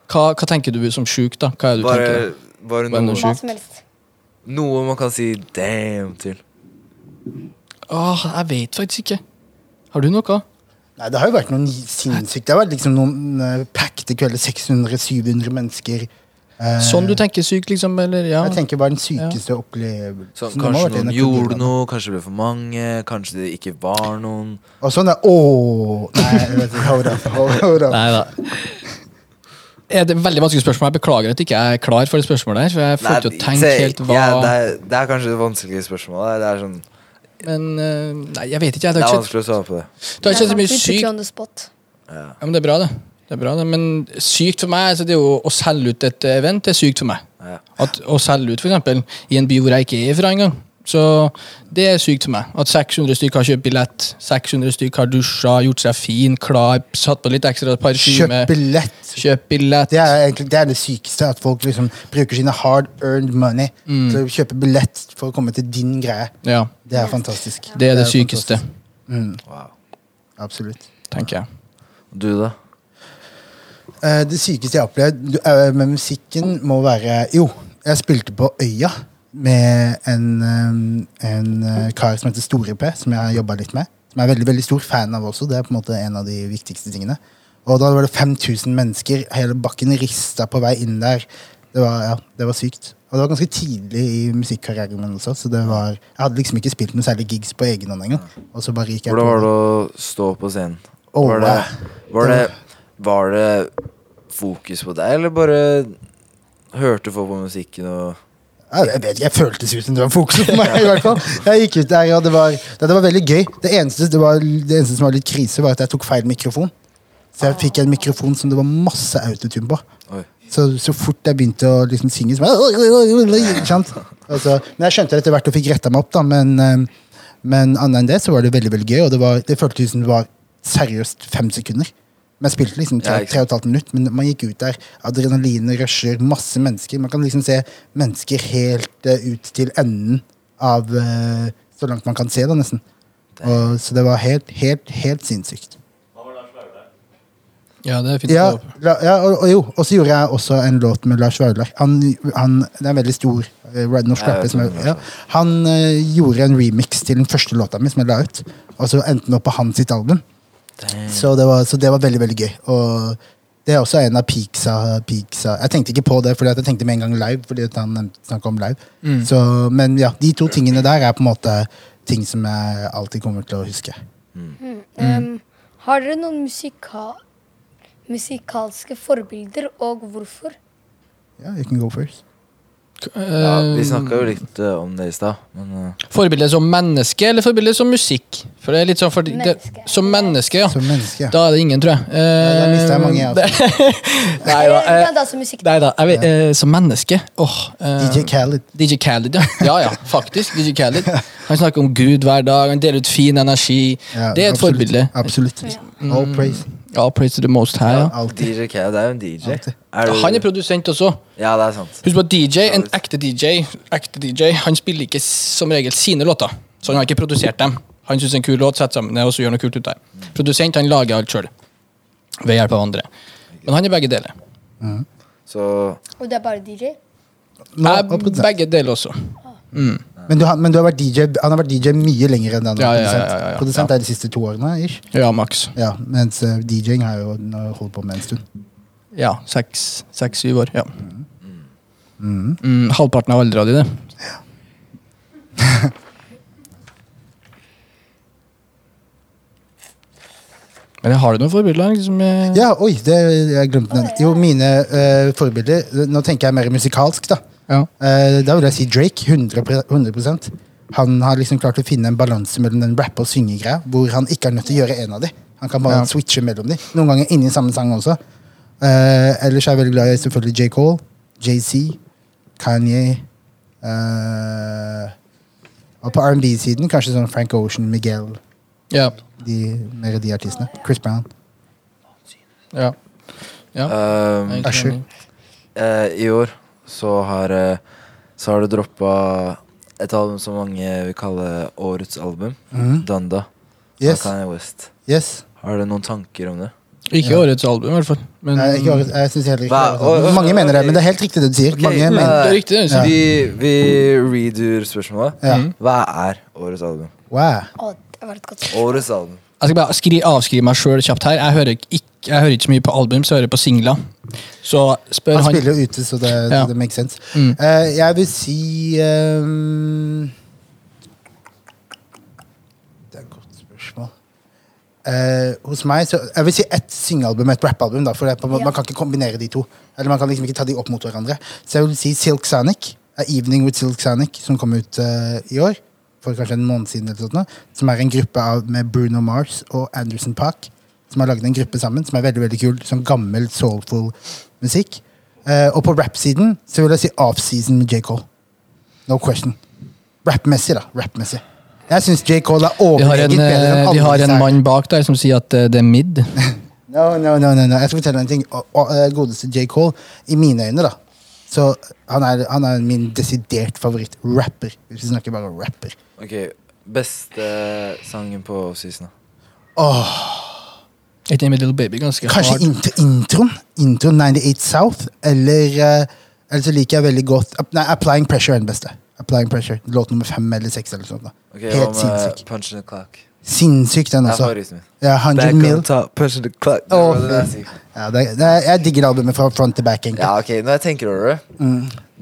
S7: hva, hva tenker du som sjuk, da? Hva er det du tenker?
S6: Bare, bare
S7: Hva er noe
S6: noe,
S9: Hva
S7: sjukt?
S9: som helst.
S6: noe man kan si 'damn' til.
S7: Åh, jeg vet faktisk ikke. Har du noe?
S8: Nei, Det har jo vært noen sinnssykt Det har vært liksom noen uh, packede kvelder. 600-700 mennesker. Eh,
S7: Sånn du tenker sykt, liksom? Eller, ja.
S8: Jeg tenker bare den sykeste opplevelsen.
S6: Sånn,
S8: Det må ha
S6: kanskje
S8: vært en
S6: noen
S8: av
S6: gjorde
S8: kulturene.
S6: noe, kanskje det ble for mange, kanskje det ikke var noen.
S8: Og sånn er Ååå! Nei, vet du, hold up. Hold, hold up.
S7: Nei da. Er det et veldig vanskelig spørsmål? Jeg beklager at jeg ikke er klar for det spørsmålet. her, for jeg får ikke til å tenke
S6: se,
S7: helt hva...
S6: ja, det, er, det er kanskje det vanskelige spørsmålet. Det er, sånn,
S7: Men eh, nei, jeg vet ikke. jeg.
S6: det
S7: Det
S6: er
S7: har ikke skjedd-
S6: vanskelig å svare på det.
S7: det har ikke skjedd så mye
S9: Vi putter you
S7: sykt.
S9: on the spot.
S7: Ja, men det er bra, det. det, er bra, det. Men sykt for meg, altså, det er jo å selge ut et event, det er sykt for meg.
S6: Ja.
S7: At Å selge ut for eksempel i en by hvor jeg ikke er fra engang. Så det er sykt for meg. At 600 stykk har kjøpt billett, 600 stykk har dusja, gjort seg fin, klar, satt på litt ekstra parfyme.
S8: Kjøp billett.
S7: Kjøp billett.
S8: Det er, egentlig, det er det sykeste, at folk liksom bruker sine hard earned money
S7: Mm.
S8: til å kjøpe billett for å komme til din greie.
S7: Ja,
S8: Det er fantastisk.
S7: det er det sykeste,
S8: fantastisk. Mm. Absolutt.
S7: tenker jeg.
S6: Du, da?
S8: Eh, det sykeste jeg har opplevd du, eh, med musikken, må være Jo, jeg spilte på Øya med en, eh, en eh, kar som heter Store-P, som jeg har jobba litt med. Som jeg er veldig veldig stor fan av også. Det er på en måte en av de viktigste tingene. Og da var det 5000 mennesker. Hele bakken rista på vei inn der. Det var, ja, det var sykt. Og det var ganske tidlig i musikkarrieren min også. Så det var, jeg hadde liksom ikke spilt noe særlig gigs på egen hånd engang. Og så bare gikk jeg
S6: Hvordan var
S8: på-
S6: det å stå på scenen?
S8: Åh,
S6: var, det, var,
S8: det
S6: det, var det fokus på deg, eller bare hørte folk på musikken og
S8: Ja, Jeg vet ikke, jeg føltes ut som det var fokuset på meg. i hvert fall Jeg gikk ut der, og det var, det, det var veldig gøy. Det eneste, det, var, det eneste som var litt krise, var at jeg tok feil mikrofon. Så jeg fikk en mikrofon som det var masse autotune på.
S6: Oi.
S8: Så, så fort jeg begynte å liksom synge så bare, ikke sant? Altså, Men jeg skjønte det etter hvert og fikk retta meg opp, da. Men, eh, men annet enn det så var det veldig veldig gøy, og det, var, det føltes ut som det var seriøst fem sekunder. Men jeg spilte liksom tre,
S6: Ja, ikke sant.
S8: tre og et halvt minutt, men man gikk ut der. Adrenalinet rusher, masse mennesker. Man kan liksom se mennesker helt eh, ut til enden av eh, Så langt man kan se, da, nesten. Og, så det var helt, helt, helt sinnssykt.
S7: Ja, det er fint.
S8: Ja,
S7: å håpe.
S8: la, ja og, og jo, og så gjorde jeg også en låt med Lars Vaular. Han, han det er en veldig stor eh, rap- norsk
S6: Jeg vet
S8: rapper. Som er,
S6: hvem det er.
S8: ja. Han eh, gjorde en remix til den første låta mi som jeg la ut, og så endte den opp på hans sitt album. Så det, var, så det var veldig, veldig gøy. Og Det er også en av peaksa, peaksa. Jeg tenkte ikke på det, for jeg tenkte med en gang live. fordi at han nevnte- snakket om live. Så, men ja, de to tingene der er på en måte ting som jeg alltid kommer til å huske.
S7: Mm.
S9: Ehm, har dere noen musika musikalske forbilder, og hvorfor?
S8: Ja, you can go first.
S6: Ja,
S7: Um,
S6: vi snakka jo litt eh, om det i stad, men eh,
S7: Forbilde som menneske eller forbilde som musikk? For det er litt sånn for, det,
S9: Menneske.
S7: Som menneske, ja.
S8: Som menneske.
S7: Da er det ingen, tror jeg. Eh,
S8: da mister jeg mange, altså. jeg
S7: Nei
S9: Eller,
S7: da. eh,
S9: men da som altså musikk.
S7: Nei da. Jeg vet, eh, som menneske Åh. eh,
S8: DJ Khaled.
S7: DJ Khaled, ja. Ja ja, faktisk. DJ Khaled. Han snakker om Gud hver dag, han deler ut fin energi.
S8: Ja,
S7: det er et
S8: absolutt.
S7: forbilde.
S8: Absolutt. All praise.
S7: Ja, praise to the most her, ja.
S8: Alltid.
S6: DJ K, det er jo en DJ.
S8: Alltid.
S6: Er du-
S7: Han er produsent også.
S6: Ja, det er sant.
S7: Husk på at DJ, en ekte DJ, ekte DJ han spiller ikke som regel sine låter. Så han har ikke produsert dem. Han syns en kul låt, setter sammen det, og så gjør noe kult ut der. Produsent han lager alt sjøl. Ved hjelp av andre. Men han er begge deler.
S6: Så
S9: Og det er bare DJ?
S8: Nå,
S7: Jeg
S8: og
S7: er
S8: produsent.
S7: begge deler også. Mm.
S8: men, du, har- men du har vært DJ, han har vært DJ mye lenger enn den.
S7: Ja, ja, ja,
S8: produsent.
S7: ja, ja.
S8: Produsent er de siste to årene, ish.
S7: Ja, maks.
S8: Ja, mens eh, DJ-ing har jo nå holdt på med en stund.
S7: Ja, seks, seks, syv år. Ja. Mm, halvparten av alderen din, det. Men har du noen forbilder? Liksom, eh?
S8: Ja, oi, det jeg glemte den. Jo, mine eh, forbilder Nå tenker jeg mer musikalsk, da.
S7: Ja.
S8: Eh, da vil jeg si Drake. 100, pre- 100 Han har liksom klart å finne en balanse mellom den rappe- og syngegreia, hvor han ikke er nødt til å gjøre en av de. Han kan bare
S7: Ja.
S8: switche mellom de. Noen ganger inni samme sang også. Eh, ellers er jeg veldig glad i selvfølgelig J. Cole, JC, Kanye eh, Og på R&B-siden kanskje sånn Frank Ocean, Miguel,
S7: Ja.
S8: de, mer de artistene. Chris Brown.
S7: ja.
S8: Eh,
S6: ehm,
S7: Jeg er ikke
S8: Usher.
S7: enig.
S6: eh, I år så har eh, Så har du droppa et album som mange vil kalle årets album. Danda.
S8: Mhm. Yes.
S6: Av Kanye West.
S8: Yes.
S6: Har du noen tanker om det?
S7: Ikke årets album, i hvert fall. Men,
S8: Nei, Eh, ikke, årets- jeg synes heller ikke
S6: Hva?
S8: det er årets album. Mange mener det, men det er helt riktig det du sier.
S6: Ok,
S8: Mange
S6: eh,
S8: mener
S7: Det er riktig, det Mhm. du sier.
S6: Vi, vi redoer spørsmålet.
S8: Ja.
S6: Hva er årets album?
S8: Wow.
S9: Å, det var et godt
S6: Årets album.
S7: jeg skal bare skri, avskrive meg sjøl kjapt her. Jeg hører, ikke, jeg hører ikke så mye på album, så jeg hører på singler. Så spør
S8: Han
S7: han,
S8: spiller jo ute, så det,
S7: Ja. Mm.
S8: så det makes sense. Eh, jeg vil si eh, ehm, Det er et godt spørsmål. Eh, hos meg så, Jeg vil si ett syngealbum og et rappalbum. da, For det, er på, en måte- Man kan ikke kombinere de to. Eller man kan liksom ikke ta de opp mot hverandre. Så jeg vil si Silk Sonic. A Evening with Silk Sonic, som kom ut eh, i år. For kanskje en måned siden. eller sånt nå, Som er en gruppe av, med Bruno Mars og Anderson Park. Som har laget en gruppe sammen, som er veldig veldig kul. Sånn gammel, soulful musikk. Eh, og på rap-siden så vil jeg si Offseason med J. Cole. No question. Rap-messig, da. Rap-messig. Jeg syns J. Cole er
S7: vi har
S8: overlegent
S7: en,
S8: bedre enn
S7: eh,
S8: alle
S7: vi har
S8: disse
S7: en
S8: her.
S7: mann bak der som sier at eh, det er mid.
S8: No, no, no, no, no. Jeg skal fortelle deg en ting. Og- og, eh, Godeste J. Cole, i mine øyne, da Så han er, han er min desidert favoritt-rapper. Hvis vi snakker bare om rapper.
S6: Ok, Beste sangen på offseason, da?
S7: Ikke en Little Baby, ganske
S8: Kanskje
S7: hard.
S8: intro, introen? Introen 98 South? Eller, eh, eller så liker jeg veldig godt App- Nei, Applying Pressure er den beste. Applying Pressure, Låt nummer fem eller seks. Eller sånt, da.
S6: Ok,
S8: Helt altså,
S6: hva med
S8: sinnssyk.
S6: Punch in the Clock?
S8: Sinnssyk, den
S6: Det er
S8: også.
S6: favoritten min.
S8: Ja, 100 mil.
S6: top, punch in the clock.
S8: Åh,
S6: Det er sykt.
S8: Ja, det, det, er- jeg digger albumet fra front til back. egentlig. Mm.
S6: Ja, ok, Når jeg tenker over det,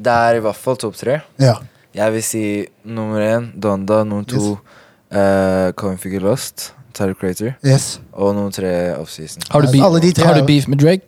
S6: det er i hvert fall topp tre.
S8: Ja.
S6: Jeg vil si nummer én Donda, nummer to uh, Coming Figure Lost, Tyler Crater,
S8: Yes.
S6: og nummer tre Offseason.
S7: Har du,
S8: Altså,
S7: beef,
S8: alle de tre
S7: har
S8: er
S7: du
S8: jo-
S7: beef med Drake?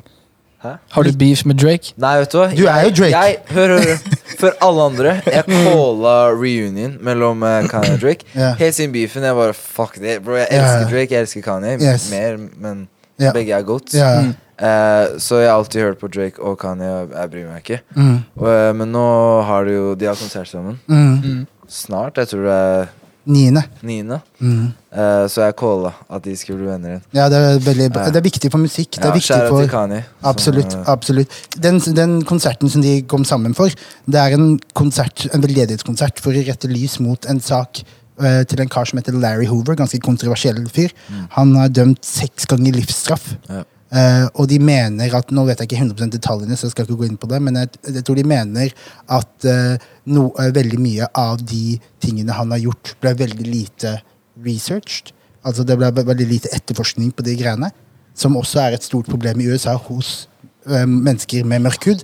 S6: Hæ?
S7: Har du beef med Drake?
S6: Nei, vet du hva?
S8: Du er jo Drake.
S6: Jeg, jeg, hør, hør, hør. For alle andre. Jeg calla reunion mellom eh, Kanye og Drake.
S8: Ja.
S6: Helt siden beefen. Jeg bare fuck det, bro. Jeg
S8: Ja,
S6: elsker
S8: ja.
S6: Drake, jeg elsker Kanye
S8: Yes.
S6: mer, men
S8: Ja.
S6: begge er goats.
S8: Ja.
S6: Eh, så jeg har alltid hørt på Drake og Kanye, og jeg bryr meg ikke.
S8: Mm.
S6: Og, eh, men nå har de jo De har konsert sammen.
S8: Mm.
S6: Snart. Jeg tror det er
S8: Niende.
S6: niende.
S8: Mm.
S6: Eh, så jeg calla at de skulle bli venner igjen.
S8: Ja, det er, veldig, bra.
S6: Ja.
S8: det er viktig for musikk. Det er
S6: Ja,
S8: viktig
S6: kjære til
S8: for
S6: Kanye. som,
S8: Absolutt.
S6: eh,
S8: absolutt. Den, den konserten som de kom sammen for, det er en konsert, en veldedighetskonsert for å rette lys mot en sak eh, til en kar som heter Larry Hoover. Ganske kontroversiell fyr. Han har dømt seks ganger livsstraff.
S6: Ja.
S8: Eh, og de mener at Nå vet jeg ikke 100 detaljene, så jeg skal ikke gå inn på det, men jeg, jeg tror de mener at eh, no, eh, veldig mye av de tingene han har gjort, ble veldig lite researched. Altså Det ble ve- veldig lite etterforskning på de greiene. Som også er et stort problem i USA hos eh, mennesker med mørk hud,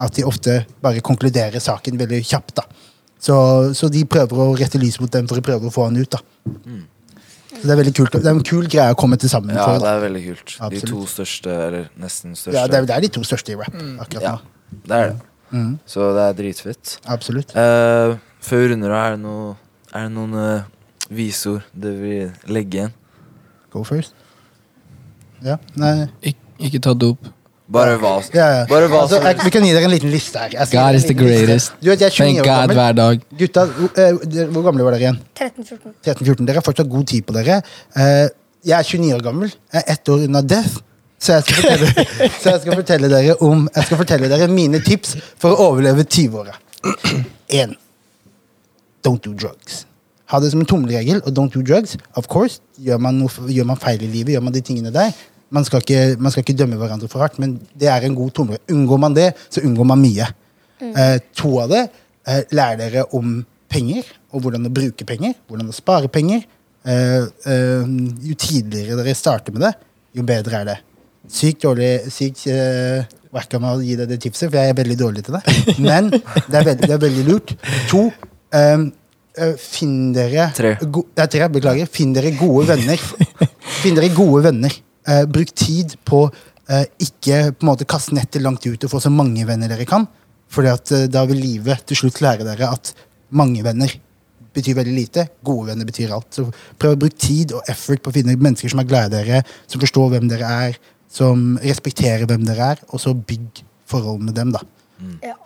S8: at de ofte bare konkluderer saken veldig kjapt. da. Så, så de prøver å rette lys mot dem for å prøve å få han ut. da. Så Det er veldig kult. Det er en kul greie å komme til sammen
S6: Ja,
S8: for.
S6: det
S8: Da.
S6: er veldig kult. De
S8: Absolutt.
S6: to største, eller nesten største.
S8: Ja, det, er, det er de to største i rap akkurat
S6: Ja,
S8: nå. Mm,
S6: det er det. Så det er dritfett.
S8: Absolutt.
S6: Eh, før vi runder av, er det, noe, er det noen eh, visord det vil legge igjen?
S8: Go first. Ja, nei
S7: Ik ikke ta dop.
S6: Bare hva
S8: ja, ja.
S6: Bare hva
S8: altså,
S6: som
S8: jeg, Vi kan gi dere en liten liste her. Jeg skal gi
S7: God
S8: dere en
S7: is the
S8: liten liste.
S7: greatest.
S8: Du vet, jeg er 29
S7: Thank
S8: år
S7: God
S8: gammel.
S7: hver dag.
S8: Gutta, eh, dere- hvor gamle var dere igjen?
S5: 13-14.
S8: 13-14. Dere har fortsatt god tid på dere. Eh, jeg er 29 år gammel. Jeg er ett år unna death. Så jeg, skal fortelle, så jeg skal fortelle dere om Jeg skal fortelle dere mine tips for å overleve 20-åra. En Don't do drugs. Ha det som en tommelregel. Og don't do drugs. Of course, gjør man, noe, gjør man feil i livet, gjør man de tingene der. Man skal, ikke, man skal ikke dømme hverandre for hardt, men det er en god tommelregel. Unngår man det, så unngår man mye. Eh, to av det eh, lærer dere om penger, og hvordan å bruke penger, hvordan å spare penger. Eh, eh, jo tidligere dere starter med det, jo bedre er det. Sykt dårlig Sykt eh, whack av meg å gi deg det tipset, for jeg er veldig dårlig til det. Men det er veldig, det er veldig lurt. To ehm, eh, Finn dere
S6: Tre.
S8: go- det er tre, beklager. Finn dere gode venner. Finn dere gode venner. Eh, bruk tid på eh, ikke på en måte kaste nettet langt ut og få så mange venner dere kan. Fordi at eh, da vil livet til slutt lære dere at mange venner betyr veldig lite. Gode venner betyr alt. Så prøv å bruke tid og effort på å finne mennesker som er glad i dere, som forstår hvem dere er, som respekterer hvem dere er, og så bygg forhold med dem, da.
S5: Ja.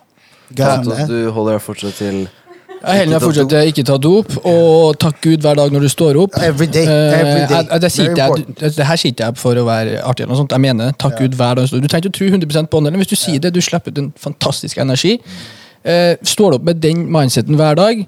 S8: Guys,
S6: Santos, du holder deg fortsatt til
S7: Jeg
S6: Ikke
S7: heller
S6: ta
S7: fortsatt eh, ikke ta dop, og takk Gud hver dag når du står opp.
S8: Every day,
S7: Eh,
S8: every day.
S7: jeg- jeg- Det, sier
S8: Very
S7: ikke jeg-
S8: important.
S7: det, det her sier ikke jeg for å være artig, eller noe sånt. jeg mener takk Gud hver dag. du står opp. Du trenger ikke å tro 100 på ånden, men hvis du sier det, du slipper ut en fantastisk energi. Eh, står du opp med den mindseten hver dag,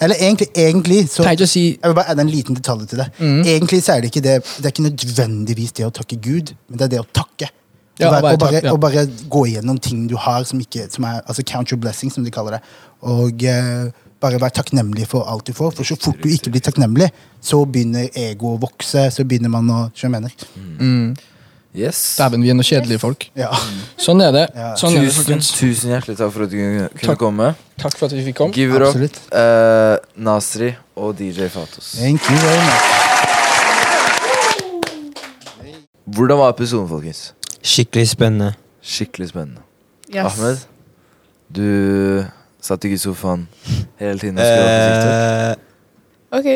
S8: Eller egentlig, egentlig så
S7: trenger ikke å si
S8: Jeg vil bare adde en liten detalj til det.
S7: Mm.
S8: Egentlig så er det ikke det Det er ikke nødvendigvis det å takke Gud, men det er det å takke. Å
S7: Ja, å
S8: bare,
S7: være
S8: å bare,
S7: takk, ja.
S8: å bare gå igjennom ting du har som ikke som er, altså Count your blessings, som de kaller det. Og eh, bare være takknemlig for alt du får. For så fort du ikke blir takknemlig, så begynner egoet å vokse. Så begynner man å Skjønner du hva jeg
S7: Mm.
S8: mener?
S6: Yes.
S7: Dæven, vi er noen kjedelige folk.
S8: Ja.
S7: Sånn er det.
S8: Ja.
S7: Sånn er det
S6: Tusen,
S7: folkens.
S6: tusen hjertelig takk for at du kunne kunne
S7: Takk.
S6: komme.
S7: Takk for at vi fikk komme.
S6: Give it up,
S8: Absolutt.
S6: eh, Nasri og DJ Fatos.
S8: Thank you very much.
S6: Hvordan var episoden, folkens?
S1: Skikkelig spennende.
S6: Skikkelig spennende.
S10: Yes.
S6: Ahmed, du satt ikke i sofaen hele tiden og skulle være på TikTok.
S1: Eh,
S2: Ok.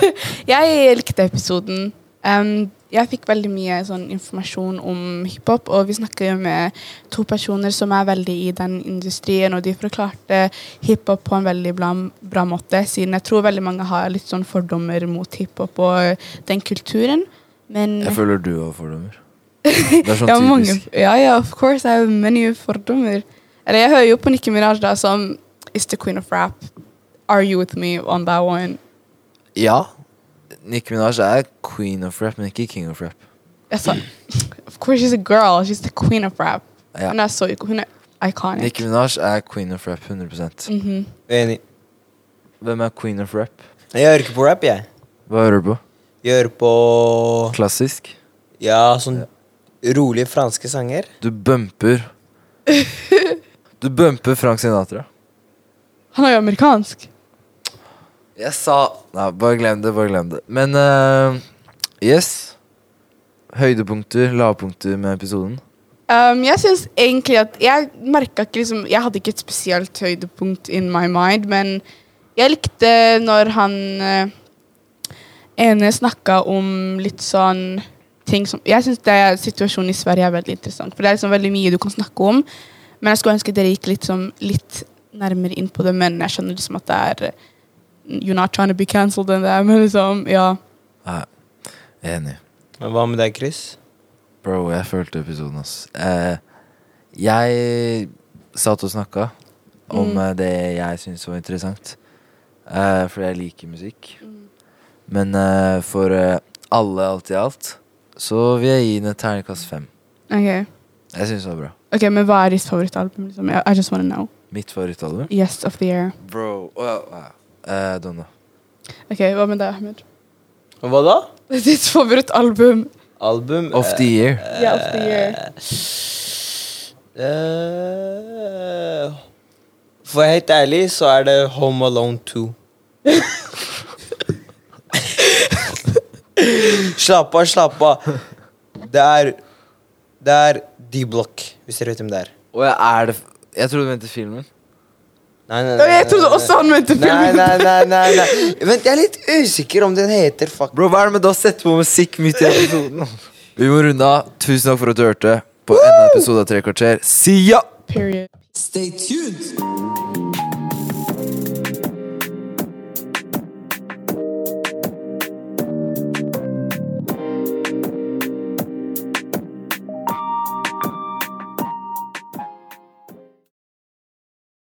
S2: jeg likte episoden. Em, jeg fikk veldig mye sånn informasjon om hiphop, og vi snakker jo med to personer som er veldig i den industrien, og de forklarte hiphop på en veldig bra, bra måte, siden jeg tror veldig mange har litt sånn fordommer mot hiphop og den kulturen. Men
S6: Jeg føler du har fordommer. Det er sånn
S2: ja, mange,
S6: typisk.
S2: ja, ja, of course. I have many fordommer. Eller jeg hører jo på Nicki Minaj da som is the queen of rap. Are you with me on that one?
S6: Ja. Nicki Minaj er queen of rap, men ikke king of rap.
S2: Jeg sa, of course she's a girl. She's the queen of rap.
S6: Ja.
S2: Hun er så hun er iconic.
S6: Nicki Minaj er queen of rap 100
S2: Mhm.
S1: Enig.
S6: Hvem er queen of rap?
S1: Jeg hører ikke på rap, jeg.
S6: Hva hører du på?
S1: Jeg hører på
S6: Klassisk?
S1: Ja, sånn rolige franske sanger.
S6: Du bumper Du bumper Frank Sinatra.
S2: Han er jo amerikansk.
S6: Jeg sa Nei, bare glem det, bare glem det. Men eh, yes. Høydepunkter, lavpunkter med episoden.
S2: Um, jeg synes egentlig at Jeg merket ikke liksom Jeg hadde ikke et spesielt høydepunkt in my mind, men jeg likte når han eh, ene snakka om litt sånn ting som Jeg syns situasjonen i Sverige er veldig interessant, for det er liksom veldig mye du kan snakke om. Men jeg skulle ønske dere gikk litt, sånn, litt nærmere inn på det, men jeg skjønner liksom at det er eh, You're not trying to be cancelled and that, men liksom, ja.
S6: Nei, jeg er enig.
S1: Men hva med deg, Chris?
S6: Bro, jeg følte episoden, ass. Eh, jeg satt og snakka om
S2: Mm.
S6: eh, det jeg syntes var interessant. Eh, fordi jeg liker musikk. Men eh, for eh, alle, alt i alt, så vil jeg gi den et terningkast fem.
S2: Ok,
S6: Jeg syns det var bra.
S2: Ok, Men hva er ditt favorittalbum? Liksom? I, I just wanna know.
S6: Mitt favorittalbum.
S2: Yes of the year.
S6: Bro well, wow. eh, Don't know.
S2: Ok, hva med deg, Ahmed?
S1: Og Hva da?
S2: Ditt favorittalbum?
S1: Album?
S6: Off the year.
S2: Ja, of the year.
S1: Eh, for å være helt ærlig så er det Home Alone 2. slapp av, slapp av. Det er Det er D-Block, hvis dere vet hvem det er.
S6: Og jeg er det f- Jeg trodde du mente filmen.
S1: Nei, nei,
S2: Ja, jeg trodde også han mente
S1: Nei,
S2: filmen.
S1: nei, nei, nei, nei. Vent, jeg er litt usikker om den heter fuck
S6: Bro, hva er det med å sette på musikk midt i episoden? Vi må runde av. Tusen takk for at du hørte på enda en episode av Tre kvarter. See ya!
S2: Period.
S11: Stay tuned.